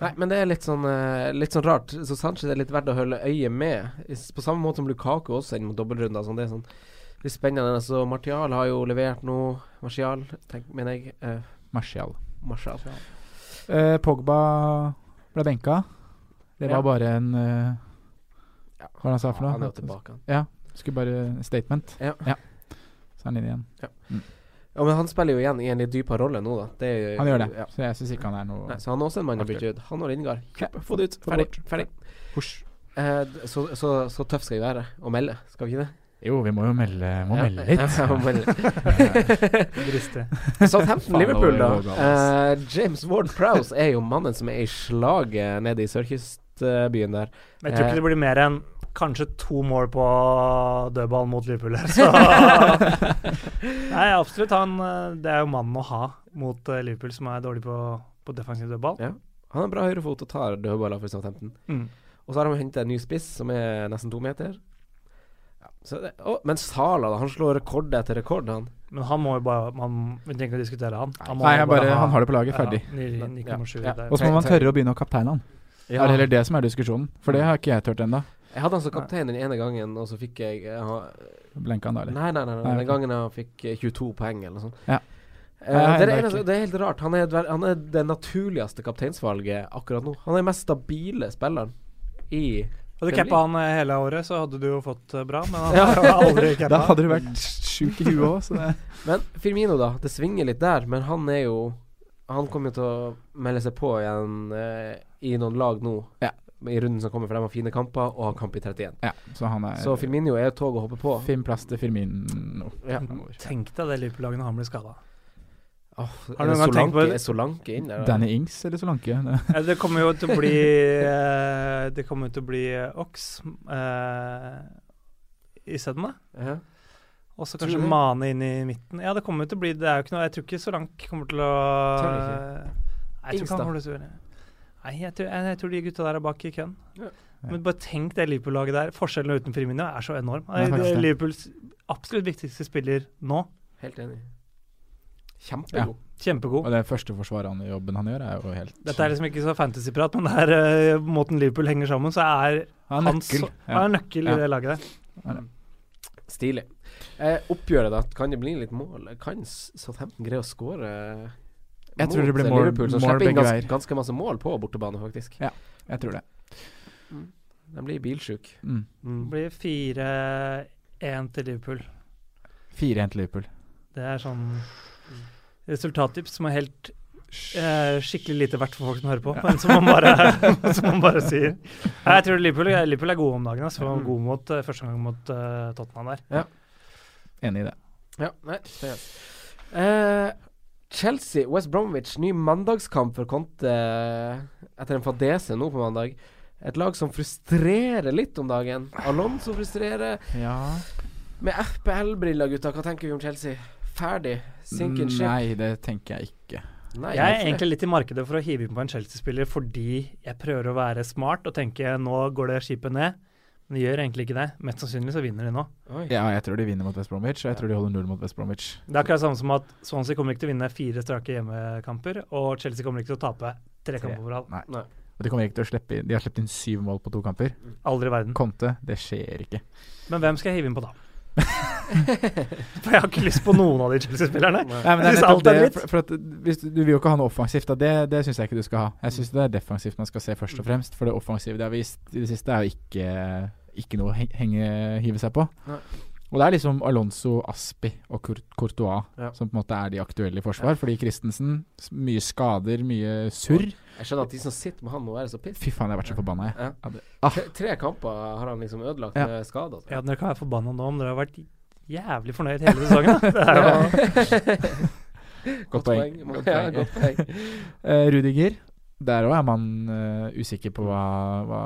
Speaker 2: Nei, men det er litt sånn, eh, litt sånn rart. Så Sanchez er litt verdt å holde øye med. I s- På samme måte som Lukaku også inn mot dobbeltrunder. Sånn. Det er sånn litt spennende. Altså, Martial har jo levert nå. Martial, tenk, mener jeg. Eh,
Speaker 4: Martial.
Speaker 2: Martial.
Speaker 4: Eh, Pogba ble benka. Det var
Speaker 2: Ja.
Speaker 4: bare en eh, Hva var det han sa for noe?
Speaker 2: Han er jo tilbake. han.
Speaker 4: Skulle bare statement.
Speaker 2: Ja.
Speaker 4: Så er han inne igjen.
Speaker 2: Ja, men han spiller jo igjen i en litt dypere rolle nå, da. Det er, jo-
Speaker 4: Han gjør det,
Speaker 2: Eh, Ja.
Speaker 4: så jeg syns ikke han er noe
Speaker 2: Nei, så han er også en mann å
Speaker 4: Aktuell.
Speaker 2: bytte ut. Han og Lindgard.
Speaker 4: Ja,
Speaker 2: Kjapp, få det ut.
Speaker 4: få
Speaker 2: Ferdig.
Speaker 4: bort.
Speaker 2: ferdig.
Speaker 4: Husj.
Speaker 2: Eh, d- så, så, så tøff skal vi være og melde, skal vi ikke det?
Speaker 4: Jo, vi må jo melde, må
Speaker 2: Ja,
Speaker 4: melde litt.
Speaker 2: Ja, må melde.
Speaker 3: Dristig.
Speaker 2: Southampton
Speaker 4: Faen,
Speaker 2: Liverpool,
Speaker 4: det
Speaker 2: da.
Speaker 4: var jo galt,
Speaker 2: Eh, James Ward Prowse er jo mannen som er i slaget nede i sørkystbyen der.
Speaker 3: Men jeg tror
Speaker 2: Eh.
Speaker 3: ikke det blir mer enn kanskje to mål på dødball mot Liverpool her, så Nei, absolutt. Han, eh, det er jo mannen å ha mot eh, Liverpool, som er dårlig på, på defensiv dødball.
Speaker 2: Ja. Han har bra høyrefot og tar dødballer for Southampton.
Speaker 3: Mm.
Speaker 2: Og så har de henta en ny spiss som er nesten to meter. Ja, så det, å, men Sala, da. Han slår rekord etter rekord, han.
Speaker 3: Men han må jo bare man, Vi trenger ikke å diskutere han. må
Speaker 4: Nei,
Speaker 3: jo
Speaker 4: jeg bare, han har det på laget, ferdig.
Speaker 3: Ja, ni-
Speaker 2: Ja.
Speaker 3: 9,7
Speaker 2: Ja.
Speaker 3: der.
Speaker 4: Og så må man
Speaker 2: Tre- tre-
Speaker 4: tørre å begynne å kapteine han. Det er heller det som er diskusjonen, for det har ikke jeg tørt ennå.
Speaker 2: Jeg hadde han som kaptein den ene gangen, og så fikk jeg eh, ha-
Speaker 4: Blenka han da, eller?
Speaker 2: Nei, nei, nei, nei,
Speaker 4: Nei,
Speaker 2: den
Speaker 4: ok.
Speaker 2: gangen han fikk eh, 22 poeng eller noe sånt.
Speaker 4: Ja.
Speaker 2: Eh,
Speaker 4: Nei,
Speaker 2: det, er
Speaker 4: det
Speaker 2: det,
Speaker 4: er
Speaker 2: eneste,
Speaker 4: ikke-
Speaker 2: det er helt rart. Han er, dver- han er det naturligste kapteinsvalget akkurat nå. Han er den mest stabile spilleren i
Speaker 3: Hadde du
Speaker 2: Premier
Speaker 3: cappa han eh, hele året, så hadde du jo fått eh, bra, men han
Speaker 2: Ja.
Speaker 3: har jo aldri cappa.
Speaker 4: Da hadde du vært sjuk i huet òg, så det
Speaker 2: Men Firmino, da. Det svinger litt der, men han er jo Han kommer jo til å melde seg på igjen eh, i noen lag nå
Speaker 4: Ja.
Speaker 2: i runden som kommer, for de har fine kamper og har kamp i 31.
Speaker 4: Ja, så han er
Speaker 2: Så Firmino er jo tog å hoppe på.
Speaker 4: Finn plass til Firmino.
Speaker 2: Ja.
Speaker 3: Tenk deg det Liverpool-laget når han blir skada.
Speaker 2: Åh,
Speaker 3: Har
Speaker 2: er,
Speaker 3: du noen gang tenkt
Speaker 2: Solanke,
Speaker 3: på-
Speaker 2: er Solanke inn der? da?
Speaker 4: Danny Ings eller Solanke? Det-
Speaker 3: Eh, Det kommer jo til å bli eh, Det kommer jo til å bli eh, Ox eh, isteden, da.
Speaker 2: Ja.
Speaker 3: Og så
Speaker 2: Tror
Speaker 3: kanskje
Speaker 2: du det?
Speaker 3: Mane inn i midten. Ja, det kommer jo til å bli Det er jo ikke noe Jeg tror ikke Solank kommer til å
Speaker 2: Tror
Speaker 3: Nei, jeg tror
Speaker 2: Ings,
Speaker 3: ikke han
Speaker 2: da?
Speaker 3: kommer til å gjøre Nei, jeg tror, jeg, jeg tror de gutta der er bak i køen.
Speaker 2: Ja.
Speaker 3: Men bare tenk det Liverpool-laget der. Forskjellen uten Firmino er så enorm.
Speaker 4: Ja, faktisk
Speaker 3: det er
Speaker 4: det.
Speaker 3: Liverpools absolutt viktigste spiller nå.
Speaker 2: Helt enig. Kjempegod.
Speaker 3: Kjempegod.
Speaker 4: Og det første forsvarende jobben han gjør, er jo helt
Speaker 3: Oh. Dette er liksom ikke så fantasyprat, men det er eh, måten Liverpool henger sammen, så er
Speaker 4: Han er
Speaker 3: han så,
Speaker 4: nøkkel.
Speaker 3: han
Speaker 4: Ja.
Speaker 3: er nøkkel
Speaker 4: Ja.
Speaker 3: i det laget der.
Speaker 2: Stilig. Eh, oppgjøret, da. Kan det bli litt mål? Kan S- Southampton greie å skåre
Speaker 4: Jeg tror det blir mål-
Speaker 2: Liverpool, som
Speaker 4: mål
Speaker 2: slipper inn
Speaker 4: begge
Speaker 2: gans
Speaker 4: veier.
Speaker 2: ganske masse mål på bortebane, faktisk.
Speaker 4: Jeg tror det.
Speaker 2: De blir bilsjuke.
Speaker 4: Mm.
Speaker 3: Det
Speaker 2: Mm.
Speaker 3: blir 4-1 til Liverpool.
Speaker 4: Fire 1 til Liverpool.
Speaker 3: Det er sånn resultattips som er helt eh, skikkelig lite verdt for folk som hører på, men som man bare, som man bare sier. Nei, jeg tror Liverpool, Liverpool er gode om dagen. Altså.
Speaker 2: Mm.
Speaker 3: Mm. God mot eh, første gang mot eh, Tottenham der.
Speaker 4: Enig i det.
Speaker 2: Ja, nei, det er eh, Chelsea, West Bromwich, ny mandagskamp for Conte eh, etter en fadese nå på mandag. Et lag som frustrerer litt om dagen. Alonso frustrerer.
Speaker 4: Ja
Speaker 2: Med FPL-briller, gutta, hva tenker vi om Chelsea? Ferdig? Sink in ship?
Speaker 4: Nei, det tenker jeg ikke.
Speaker 2: Nei,
Speaker 3: Jeg er
Speaker 2: ikke det.
Speaker 3: egentlig litt i markedet for å hive inn på en Chelsea-spiller fordi jeg prøver å være smart og tenke nå går det skipet ned. Men de gjør egentlig ikke det. Mest sannsynlig så vinner de nå.
Speaker 2: Oi.
Speaker 4: Ja, jeg tror de vinner mot West Bromwich, og jeg tror de holder null mot West Bromwich.
Speaker 3: Det er akkurat samme som at Swansea kommer ikke til å vinne fire strake hjemmekamper, og Chelsea kommer ikke til å tape tre kamper på rad.
Speaker 4: Og de kommer ikke til å slippe inn De har sluppet inn syv mål på to kamper.
Speaker 3: Aldri i verden.
Speaker 4: Conte, det skjer ikke.
Speaker 3: Men hvem skal jeg hive inn på da? For jeg har ikke lyst på noen av de Chelsea-spillerne.
Speaker 4: Nei, men det er
Speaker 3: Hvis alt
Speaker 4: nettopp
Speaker 3: er
Speaker 4: det,
Speaker 3: litt.
Speaker 4: for, for at hvis du, du vil jo ikke ha noe offensivt, da. Det, det syns jeg ikke du skal ha. Jeg syns det er defensivt man skal se først og fremst, for det offensive de har vist i det siste, er jo ikke, ikke noe å he- henge, hive seg på.
Speaker 2: Nei.
Speaker 4: Og det er liksom Alonso, Aspi og Cour- Courtois
Speaker 2: Ja.
Speaker 4: som på en måte er de aktuelle i forsvar. Fordi Christensen s- Mye skader, mye surr.
Speaker 2: Jeg skjønner at de som sitter med han, må være så piss.
Speaker 4: Fy faen, jeg har vært så forbanna, jeg.
Speaker 2: Ja.
Speaker 4: Ja, det-
Speaker 2: Tre, tre kamper har han liksom ødelagt
Speaker 4: Ja.
Speaker 2: med skader. altså.
Speaker 3: Ja, dere kan være forbanna nå, men dere har vært jævlig fornøyd hele sesongen. da. Det er jo
Speaker 4: Godt poeng.
Speaker 2: Godt poeng. Ja, godt poeng.
Speaker 4: Eh, Rudiger. Der òg er man eh, usikker på hva, hva,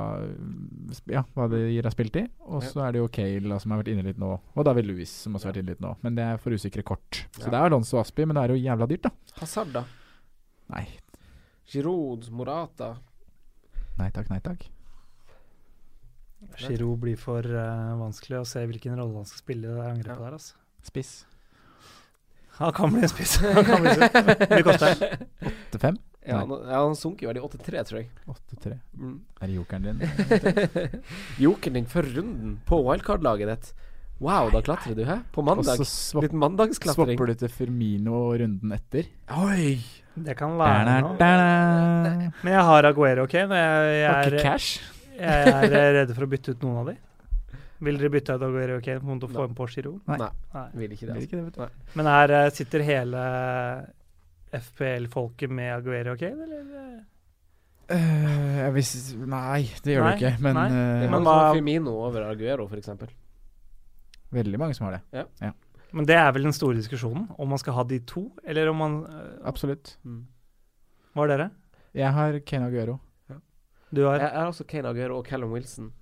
Speaker 4: sp- ja, hva det gir av spilt i. Og så er det jo Cale da, som har vært inne litt nå, og David Louis som også har vært inne litt nå. Men det er for usikre kort. Så
Speaker 2: Ja.
Speaker 4: det er Alonso og Aspi, men det er jo jævla dyrt, da.
Speaker 2: Hazard, da.
Speaker 4: Nei,
Speaker 2: Giroud, Morata.
Speaker 4: nei takk, nei takk.
Speaker 3: Giroud blir for eh, vanskelig å se hvilken rolle han skal spille i det angrepet der. altså.
Speaker 4: Spiss.
Speaker 3: Han kan bli en spiss. Han kan bli en spiss. Mye koster.
Speaker 4: 8-5?
Speaker 2: Ja,
Speaker 4: Nei.
Speaker 2: han, ja, han sunker jo veldig 8-3, tror jeg.
Speaker 4: 8-3.
Speaker 2: Mm.
Speaker 4: Er det jokeren din?
Speaker 2: Jokeren din for runden på wildcard-laget ditt. Wow, da klatrer du, hæ? På
Speaker 4: Og
Speaker 2: mandag.
Speaker 4: så swap,
Speaker 2: Litt mandagsklatring.
Speaker 4: swapper du til Firmino og runden etter.
Speaker 2: Oi!
Speaker 3: Det kan være
Speaker 4: Der,
Speaker 3: noe.
Speaker 4: der, der.
Speaker 3: Men jeg har Aguero, OK? Men jeg,
Speaker 4: Har
Speaker 3: jeg,
Speaker 4: ikke
Speaker 3: er,
Speaker 4: cash.
Speaker 3: jeg er eh, redd for å bytte ut noen av de. Vil dere bytte ut Aguero, OK? Mot å få en på Giroud?
Speaker 4: Nei.
Speaker 3: Nei.
Speaker 2: Vil ikke det.
Speaker 4: Blir
Speaker 2: Altså.
Speaker 4: ikke det, vet du.
Speaker 3: Men her eh, sitter hele FPL-folket med Aguero, OK? Eller?
Speaker 4: Eh, jeg vis, nei, det gjør
Speaker 3: Nei,
Speaker 4: det ikke. Men
Speaker 3: nei.
Speaker 2: Det
Speaker 4: eh,
Speaker 2: er
Speaker 3: Men
Speaker 2: mange som
Speaker 3: hva-
Speaker 2: har Firmino over Arguero, f.eks.
Speaker 4: veldig mange som har det.
Speaker 3: Men det er vel den store diskusjonen, om man skal ha de to, eller om man eh,
Speaker 4: Absolutt.
Speaker 3: Hva er dere?
Speaker 4: Jeg har Ken Aguero.
Speaker 3: Du
Speaker 2: Jeg
Speaker 3: har
Speaker 2: er også Kane Aguero og Callum Wilson.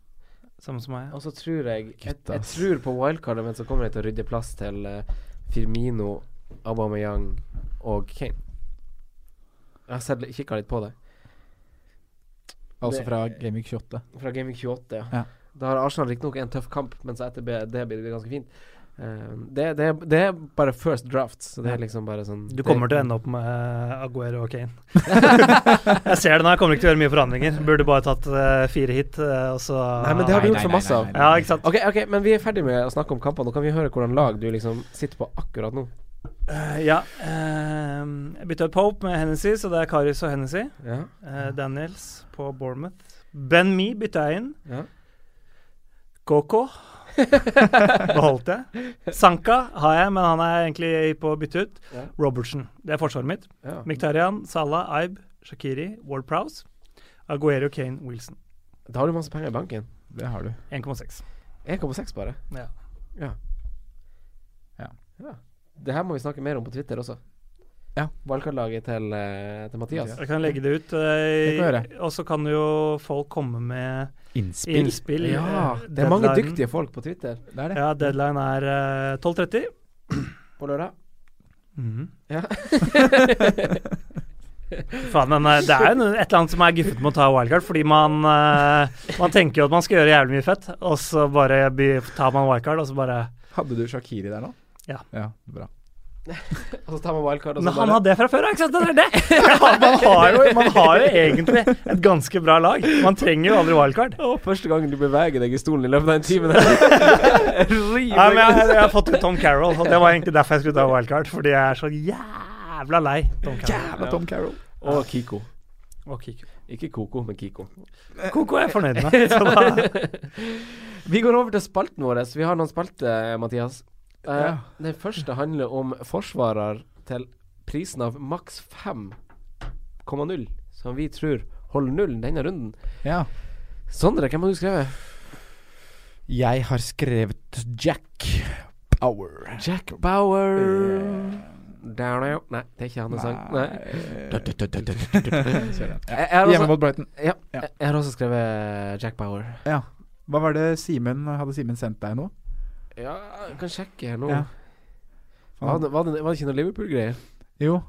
Speaker 3: samme som meg.
Speaker 2: Og så tror jeg Jeg,
Speaker 4: Gutta,
Speaker 2: jeg
Speaker 4: ass.
Speaker 2: tror på wildcardet, men så kommer jeg til å rydde plass til eh, Firmino, Aubameyang og Kane. Jeg har sett- kikka litt på det.
Speaker 4: Altså
Speaker 2: Det-
Speaker 4: fra Gaming 28.
Speaker 2: Fra Gaming 28, ja.
Speaker 4: Ja.
Speaker 2: Da har Arsenal riktignok en tøff kamp, men så etter det, det blir det ganske fint. Eh, det, det, det er bare first draft, så det er liksom bare sånn
Speaker 3: Du kommer til å ende opp med eh, Aguero og Kane. jeg ser det nå, jeg kommer ikke til å gjøre mye forandringer. Burde bare tatt eh, fire hit, eh, og så
Speaker 2: Nei, men det har du
Speaker 4: Nei,
Speaker 2: gjort
Speaker 4: nei,
Speaker 2: for
Speaker 4: nei,
Speaker 2: masse av.
Speaker 4: nei, nei,
Speaker 3: Ja, ikke sant.
Speaker 2: Ok, ok, men vi er ferdig med å snakke om kamper. Nå kan vi høre hvordan lag du liksom sitter på akkurat nå.
Speaker 3: Eh, ja. eh, jeg bytta ut Pope med Hennessy, så det er Karius og Hennessy.
Speaker 2: Ja,
Speaker 3: Eh, Daniels på Bournemouth. Ben Me bytta jeg inn.
Speaker 2: ja.
Speaker 3: Koko beholdt jeg. Sanka har jeg, men han er egentlig på å bytte ut.
Speaker 2: Ja.
Speaker 3: Robertson. Det er forsvaret mitt.
Speaker 2: ja.
Speaker 3: Miktarian, Salah, Aib, Shakiri, Ward Prowse. Aguero, Kane, Wilson.
Speaker 2: Da har du masse penger i banken.
Speaker 4: Det har du.
Speaker 3: 1,6.
Speaker 2: 1,6 bare.
Speaker 3: Ja.
Speaker 2: Det her må vi snakke mer om på Twitter også.
Speaker 4: Ja.
Speaker 2: Wildcard-laget til, eh, til Mathias.
Speaker 3: Jeg kan legge det ut. eh,
Speaker 4: Det kan jeg
Speaker 3: og så kan jo folk komme med
Speaker 4: Innspill.
Speaker 3: innspill.
Speaker 2: Ja,
Speaker 3: eh,
Speaker 2: det er mange
Speaker 3: deadline-
Speaker 2: dyktige folk på Twitter
Speaker 4: Det er det.
Speaker 3: Ja, deadline er eh, 12.30.
Speaker 2: på lørdag.
Speaker 3: Mhm.
Speaker 2: Ja.
Speaker 3: Faen, men eh, det er jo noe- et eller annet som er guffet med å ta wildcard, fordi man, eh, man tenker jo at man skal gjøre jævlig mye fett, og så bare by, tar man wildcard, og så bare
Speaker 4: Hadde du Shakiri der nå?
Speaker 3: Ja.
Speaker 4: ja bra.
Speaker 2: Og så tar man wildcard, og
Speaker 3: Men
Speaker 2: så
Speaker 3: han
Speaker 2: bare
Speaker 3: hadde det fra før, ja, ikke sant? Det er det. Man har, jo, man har jo egentlig et ganske bra lag. Man trenger jo aldri wildcard.
Speaker 2: Å, Første gangen du beveger deg i stolen i løpet av en time der. Riv
Speaker 3: Nei, men
Speaker 2: deg.
Speaker 3: jeg, jeg har fått ut Tom Carroll, og det var egentlig derfor jeg skulle ta wildcard. Fordi jeg er så jævla lei Tom Carroll.
Speaker 4: Jævla Tom Carroll.
Speaker 2: Og Kiko.
Speaker 3: Og Kiko.
Speaker 2: Ikke Koko, men Kiko.
Speaker 3: Koko er jeg fornøyd med. Så da,
Speaker 2: Vi går over til spalten vår. Vi har noen spalter, Mathias. Eh,
Speaker 4: Ja.
Speaker 2: Den første handler om forsvarer til prisen av maks 5,0, som vi tror holder nullen denne runden.
Speaker 4: Ja.
Speaker 2: Sondre, hvem har du skrevet?
Speaker 4: Jeg har skrevet Jack Power.
Speaker 2: Jack
Speaker 4: Eh,
Speaker 2: Bauer. Down, down. Nei, det er ikke hans
Speaker 4: sånn,
Speaker 2: sang. Nei.
Speaker 4: Kjør den.
Speaker 2: Jeg, jeg, har
Speaker 4: Hjemme
Speaker 2: også,
Speaker 4: mot Brighton.
Speaker 2: ja,
Speaker 4: Ja.
Speaker 2: jeg, jeg har også skrevet Jack Bauer.
Speaker 4: Ja. Hva var det Simen Hadde Simen sendt deg nå?
Speaker 2: Ja, jeg kan sjekke her nå.
Speaker 4: Ja.
Speaker 2: Var, det, var, det, var det ikke noe Liverpool-greier?
Speaker 4: Jo.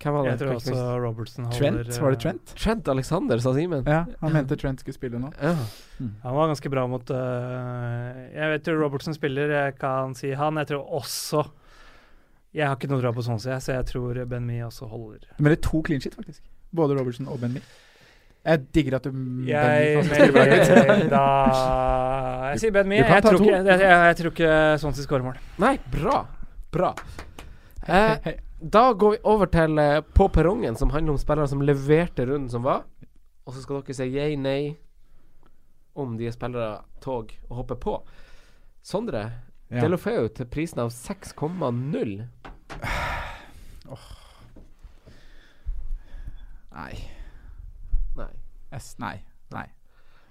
Speaker 2: Hvem var det?
Speaker 3: jeg tror også Robertson holder
Speaker 4: Trent? eh, Var det Trent?
Speaker 2: Trent Alexander, sa Simen.
Speaker 4: Ja, han mente Trent skulle spille nå.
Speaker 2: Ja.
Speaker 3: Han var ganske bra mot øh, Jeg vet jo Robertson spiller, jeg kan si han. Jeg tror også Jeg har ikke noe tro på sånn, så jeg, så jeg tror Ben Mee også holder.
Speaker 4: Men det er to clean shit, faktisk. Både Robertson og Benny. Jeg digger at du
Speaker 3: Mm,
Speaker 4: Benny
Speaker 3: Jeg,
Speaker 4: faktisk spiller bra.
Speaker 3: melder eh, da Jeg sier Ben Mee.
Speaker 4: Du kan
Speaker 3: Jeg,
Speaker 4: ta
Speaker 3: tror
Speaker 4: to.
Speaker 3: ikke- jeg, jeg, jeg tror ikke Sonsi skårer mål.
Speaker 2: Nei, bra. Bra.
Speaker 4: Hei,
Speaker 2: Eh,
Speaker 4: hei.
Speaker 2: da går vi over til eh, På perrongen, som handler om spillere som leverte runden som var. Og så skal dere si yay, nei om de er spillere tog og hopper på. Sondre,
Speaker 4: Ja.
Speaker 2: Delofeu til prisen av 6,0.
Speaker 4: Nei.
Speaker 2: Nei.
Speaker 4: S, nei. Nei.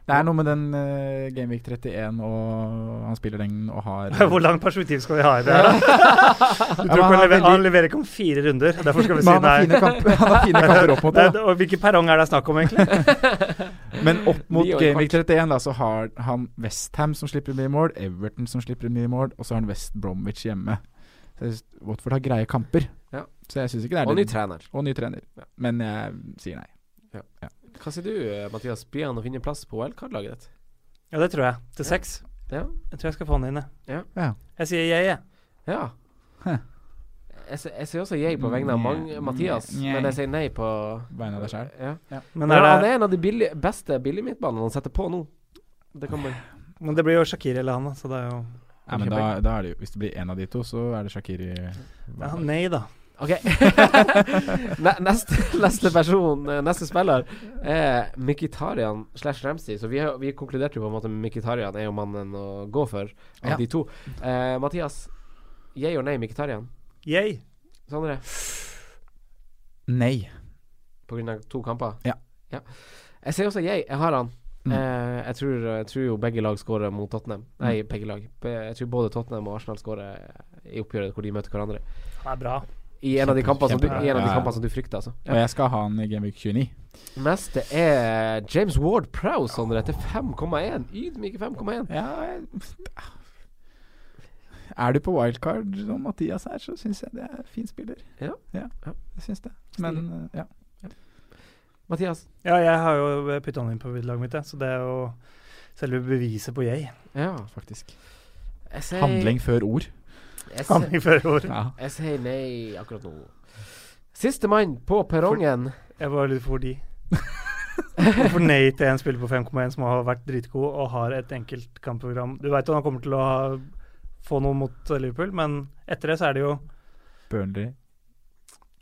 Speaker 4: Det er noe med den eh, Gameweek 31 og han spiller den og har
Speaker 3: Hvor langt perspektiv skal vi ha i det? her, da? Du tror
Speaker 4: Ja,
Speaker 3: ikke han,
Speaker 4: men han er
Speaker 3: lever,
Speaker 4: veldig-
Speaker 3: han leverer ikke om fire runder, derfor skal vi
Speaker 4: Men
Speaker 3: si
Speaker 4: han
Speaker 3: nei.
Speaker 4: har fine, kamp, han har fine kamper opp mot det.
Speaker 3: Nei, det- Og hvilken perrong er det snakk om, egentlig?
Speaker 4: da. Men opp mot
Speaker 2: Ni år
Speaker 4: Gameweek 31 da, så har han Westham som slipper mye mål, Everton som slipper mye mål, og så har han West Bromwich hjemme. Så jeg synes Watford har greie kamper.
Speaker 2: Ja.
Speaker 4: Så jeg syns ikke det er
Speaker 2: Og ny
Speaker 4: det-
Speaker 2: trener.
Speaker 4: og ny trener.
Speaker 2: Ja.
Speaker 4: Men jeg sier nei.
Speaker 2: Hva sier du, eh, Mathias? Blir han å finne plass på OL-kartlaget ditt?
Speaker 3: Ja, det tror jeg. Til seks.
Speaker 2: Ja.
Speaker 3: Jeg tror jeg skal få han inn, jeg.
Speaker 4: Ja.
Speaker 3: Jeg sier jeg, jeg.
Speaker 2: Ja.
Speaker 4: Hæ.
Speaker 2: Jeg, sier- jeg sier også jeg på vegne av mange,
Speaker 4: Nye-
Speaker 2: Mathias,
Speaker 4: nye-
Speaker 2: men jeg sier nei på
Speaker 4: Vegne av deg selv.
Speaker 2: Ja.
Speaker 3: Men,
Speaker 2: Men han
Speaker 3: er det,
Speaker 2: er en av de billig, beste billig midtbanene han setter på nå. Det kan man
Speaker 3: men det blir jo Shakir eller han, da, så det er jo
Speaker 4: Ja, men da, da er det jo, hvis det blir en av de to, så er det Shakiri.
Speaker 3: ja, Nei, da.
Speaker 2: OK. Ne- neste, neste person, eh, neste spiller, er Mkhitaryan slash Ramsey. Så vi, har- vi konkluderte jo på en måte med Mkhitaryan er jo mannen å gå for av
Speaker 4: Ja.
Speaker 2: de to. Eh, Mathias, jeg og nei Mkhitaryan.
Speaker 3: Jeg.
Speaker 2: Sondre,
Speaker 4: Nei.
Speaker 2: på grunn av to kamper?
Speaker 4: Ja.
Speaker 2: Jeg sier også jeg. Jeg har han.
Speaker 4: Mm.
Speaker 2: Eh, jeg, tror, jeg tror jo begge lag skårer mot Tottenham. Nei,
Speaker 4: Mm.
Speaker 2: begge lag. Be- Jeg tror både Tottenham og Arsenal skårer i oppgjøret hvor de møter hverandre.
Speaker 3: Han er bra.
Speaker 2: I en av de
Speaker 4: Kjempe-
Speaker 2: kampene som, du-
Speaker 4: kjempe-
Speaker 2: i en av de
Speaker 4: ja.
Speaker 2: kampene som du frykter, altså.
Speaker 4: Og jeg skal ha han i Gameweek 29.
Speaker 2: Neste er James Ward Prowse, Sondre, til 5,1. Ydmyke 5,1.
Speaker 4: Ja jeg- Er du på wildcard som Mathias er, så syns jeg det er fin spiller.
Speaker 2: Ja. Ja.
Speaker 4: Jeg syns det. Men eh, ja.
Speaker 2: Mathias?
Speaker 3: Ja, jeg har jo putta han inn på laget mitt, jeg, så det er jo selve beviset på jeg.
Speaker 2: Ja,
Speaker 4: Faktisk.
Speaker 2: jeg sier
Speaker 4: Handling før ord.
Speaker 2: Jeg
Speaker 3: Han
Speaker 2: sier,
Speaker 3: i førerord.
Speaker 4: Ja.
Speaker 2: jeg sier nei akkurat nå. Sistemann på perrongen.
Speaker 3: Jeg var litt for de. Hvorfor nei til en spiller på 5,1 som har vært dritgod og har et enkelt kampprogram? Du veit jo han kommer til å ha, få noe mot eh, Liverpool, men etter det så er det jo
Speaker 4: Burnley.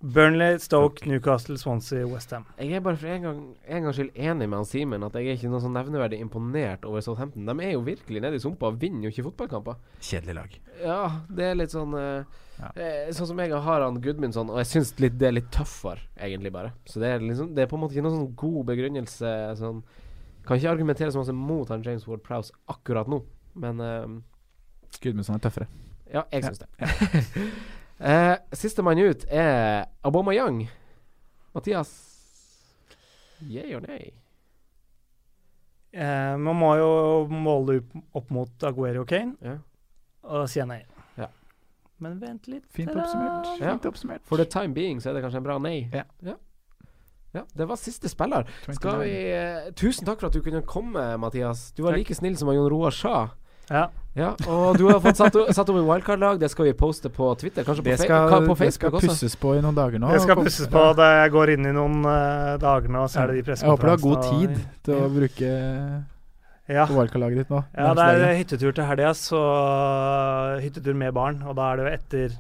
Speaker 3: Burnley, Stoke, Newcastle, Swansea, Westham.
Speaker 2: Jeg er bare for en gang, en gangs skyld enig med han Simen at jeg er ikke noe sånn nevneverdig imponert over Southampton. De er jo virkelig nede i sumpa og vinner jo ikke fotballkamper.
Speaker 4: Kjedelig lag.
Speaker 2: Ja, det er litt sånn eh,
Speaker 4: Ja.
Speaker 2: eh, Sånn som jeg har han Gudmundsson, og jeg syns litt, det er litt tøffere, egentlig, bare. Så det er, liksom, det er på en måte ikke noen sånn god begrunnelse sånn Kan ikke argumentere så masse mot han James Ward Prowse akkurat nå, men eh,
Speaker 4: Gudmundsson er tøffere.
Speaker 2: ja, jeg syns det. Eh, Sistemann ut er Aubameyang. Mathias, yeah or nay?
Speaker 3: Eh, man må jo måle opp- opp mot Aguero og Kane,
Speaker 2: Ja.
Speaker 3: og da sier jeg nei.
Speaker 2: Ja.
Speaker 3: Men vent litt.
Speaker 4: Fint
Speaker 3: da.
Speaker 4: oppsummert.
Speaker 2: Ja.
Speaker 4: Fint oppsummert.
Speaker 2: For the time being så er det kanskje en bra nei.
Speaker 4: Ja.
Speaker 2: ja. Ja, Det var siste spiller. Skal vi, eh, tusen takk for at du kunne komme, Mathias. Du var
Speaker 3: Takk.
Speaker 2: like snill som Jon Roar Sjah.
Speaker 3: Ja.
Speaker 2: Ja, og du har fått satt, satt opp et wildcard-lag. Det skal vi poste på Twitter, kanskje
Speaker 4: Det
Speaker 2: på, fe-
Speaker 4: skal,
Speaker 2: ka- på
Speaker 4: det skal
Speaker 2: Facebook også.
Speaker 4: pusses på i noen dager nå.
Speaker 3: Det skal
Speaker 4: Kom-
Speaker 3: pusses på da jeg går inn i noen eh, dager nå, så er det de
Speaker 4: Jeg håper du har god
Speaker 3: pressekonferansene
Speaker 4: tid
Speaker 3: og-
Speaker 4: til å bruke
Speaker 3: Ja.
Speaker 4: wildcard-laget ditt nå.
Speaker 3: Ah. Ja, det er
Speaker 4: Nærmeste dagen.
Speaker 3: hyttetur til helga, så hyttetur med barn. Og da er det jo etter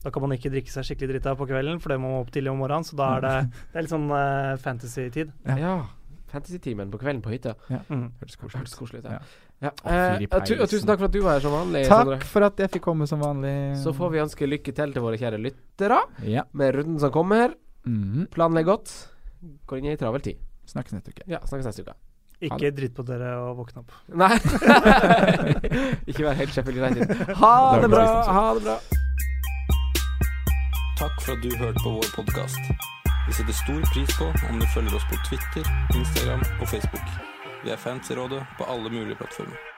Speaker 3: Da kan man ikke drikke seg skikkelig drita på kvelden, for det må man opp tidlig om morgenen. Så da er det, det er litt sånn eh, fantasy-tid.
Speaker 4: Ja.
Speaker 2: Ja. Fantasy-timen på kvelden på hytta.
Speaker 3: Mm.
Speaker 4: Hørtes koselig ut.
Speaker 2: Hørtes koselig ut. Ja.
Speaker 4: Ja.
Speaker 2: Ja.
Speaker 4: Å,
Speaker 2: eh,
Speaker 4: fy i
Speaker 2: og tu og
Speaker 4: peisen.
Speaker 2: tusen takk for at du var her som vanlig, Sondre.
Speaker 4: Takk for at jeg fikk komme som vanlig.
Speaker 2: Så får vi ønske lykke til til våre kjære lyttere
Speaker 4: Ja.
Speaker 2: med runden som kommer.
Speaker 4: Mhm.
Speaker 2: Planlegg godt. Går inn i ei travel tid.
Speaker 4: Snakkes neste uke.
Speaker 2: Ja, snakkes neste uke.
Speaker 4: Ha
Speaker 3: Ikke
Speaker 4: det.
Speaker 3: dritt på dere og våkne opp.
Speaker 2: Nei. Ikke vær helt Sheffield United. Ha det bra! liksom. Ha det bra.
Speaker 1: Takk for at du hørte på vår podkast. Vi setter stor pris på om du følger oss på Twitter, Instagram og Facebook. Vi er fans i rådet på alle mulige plattformer.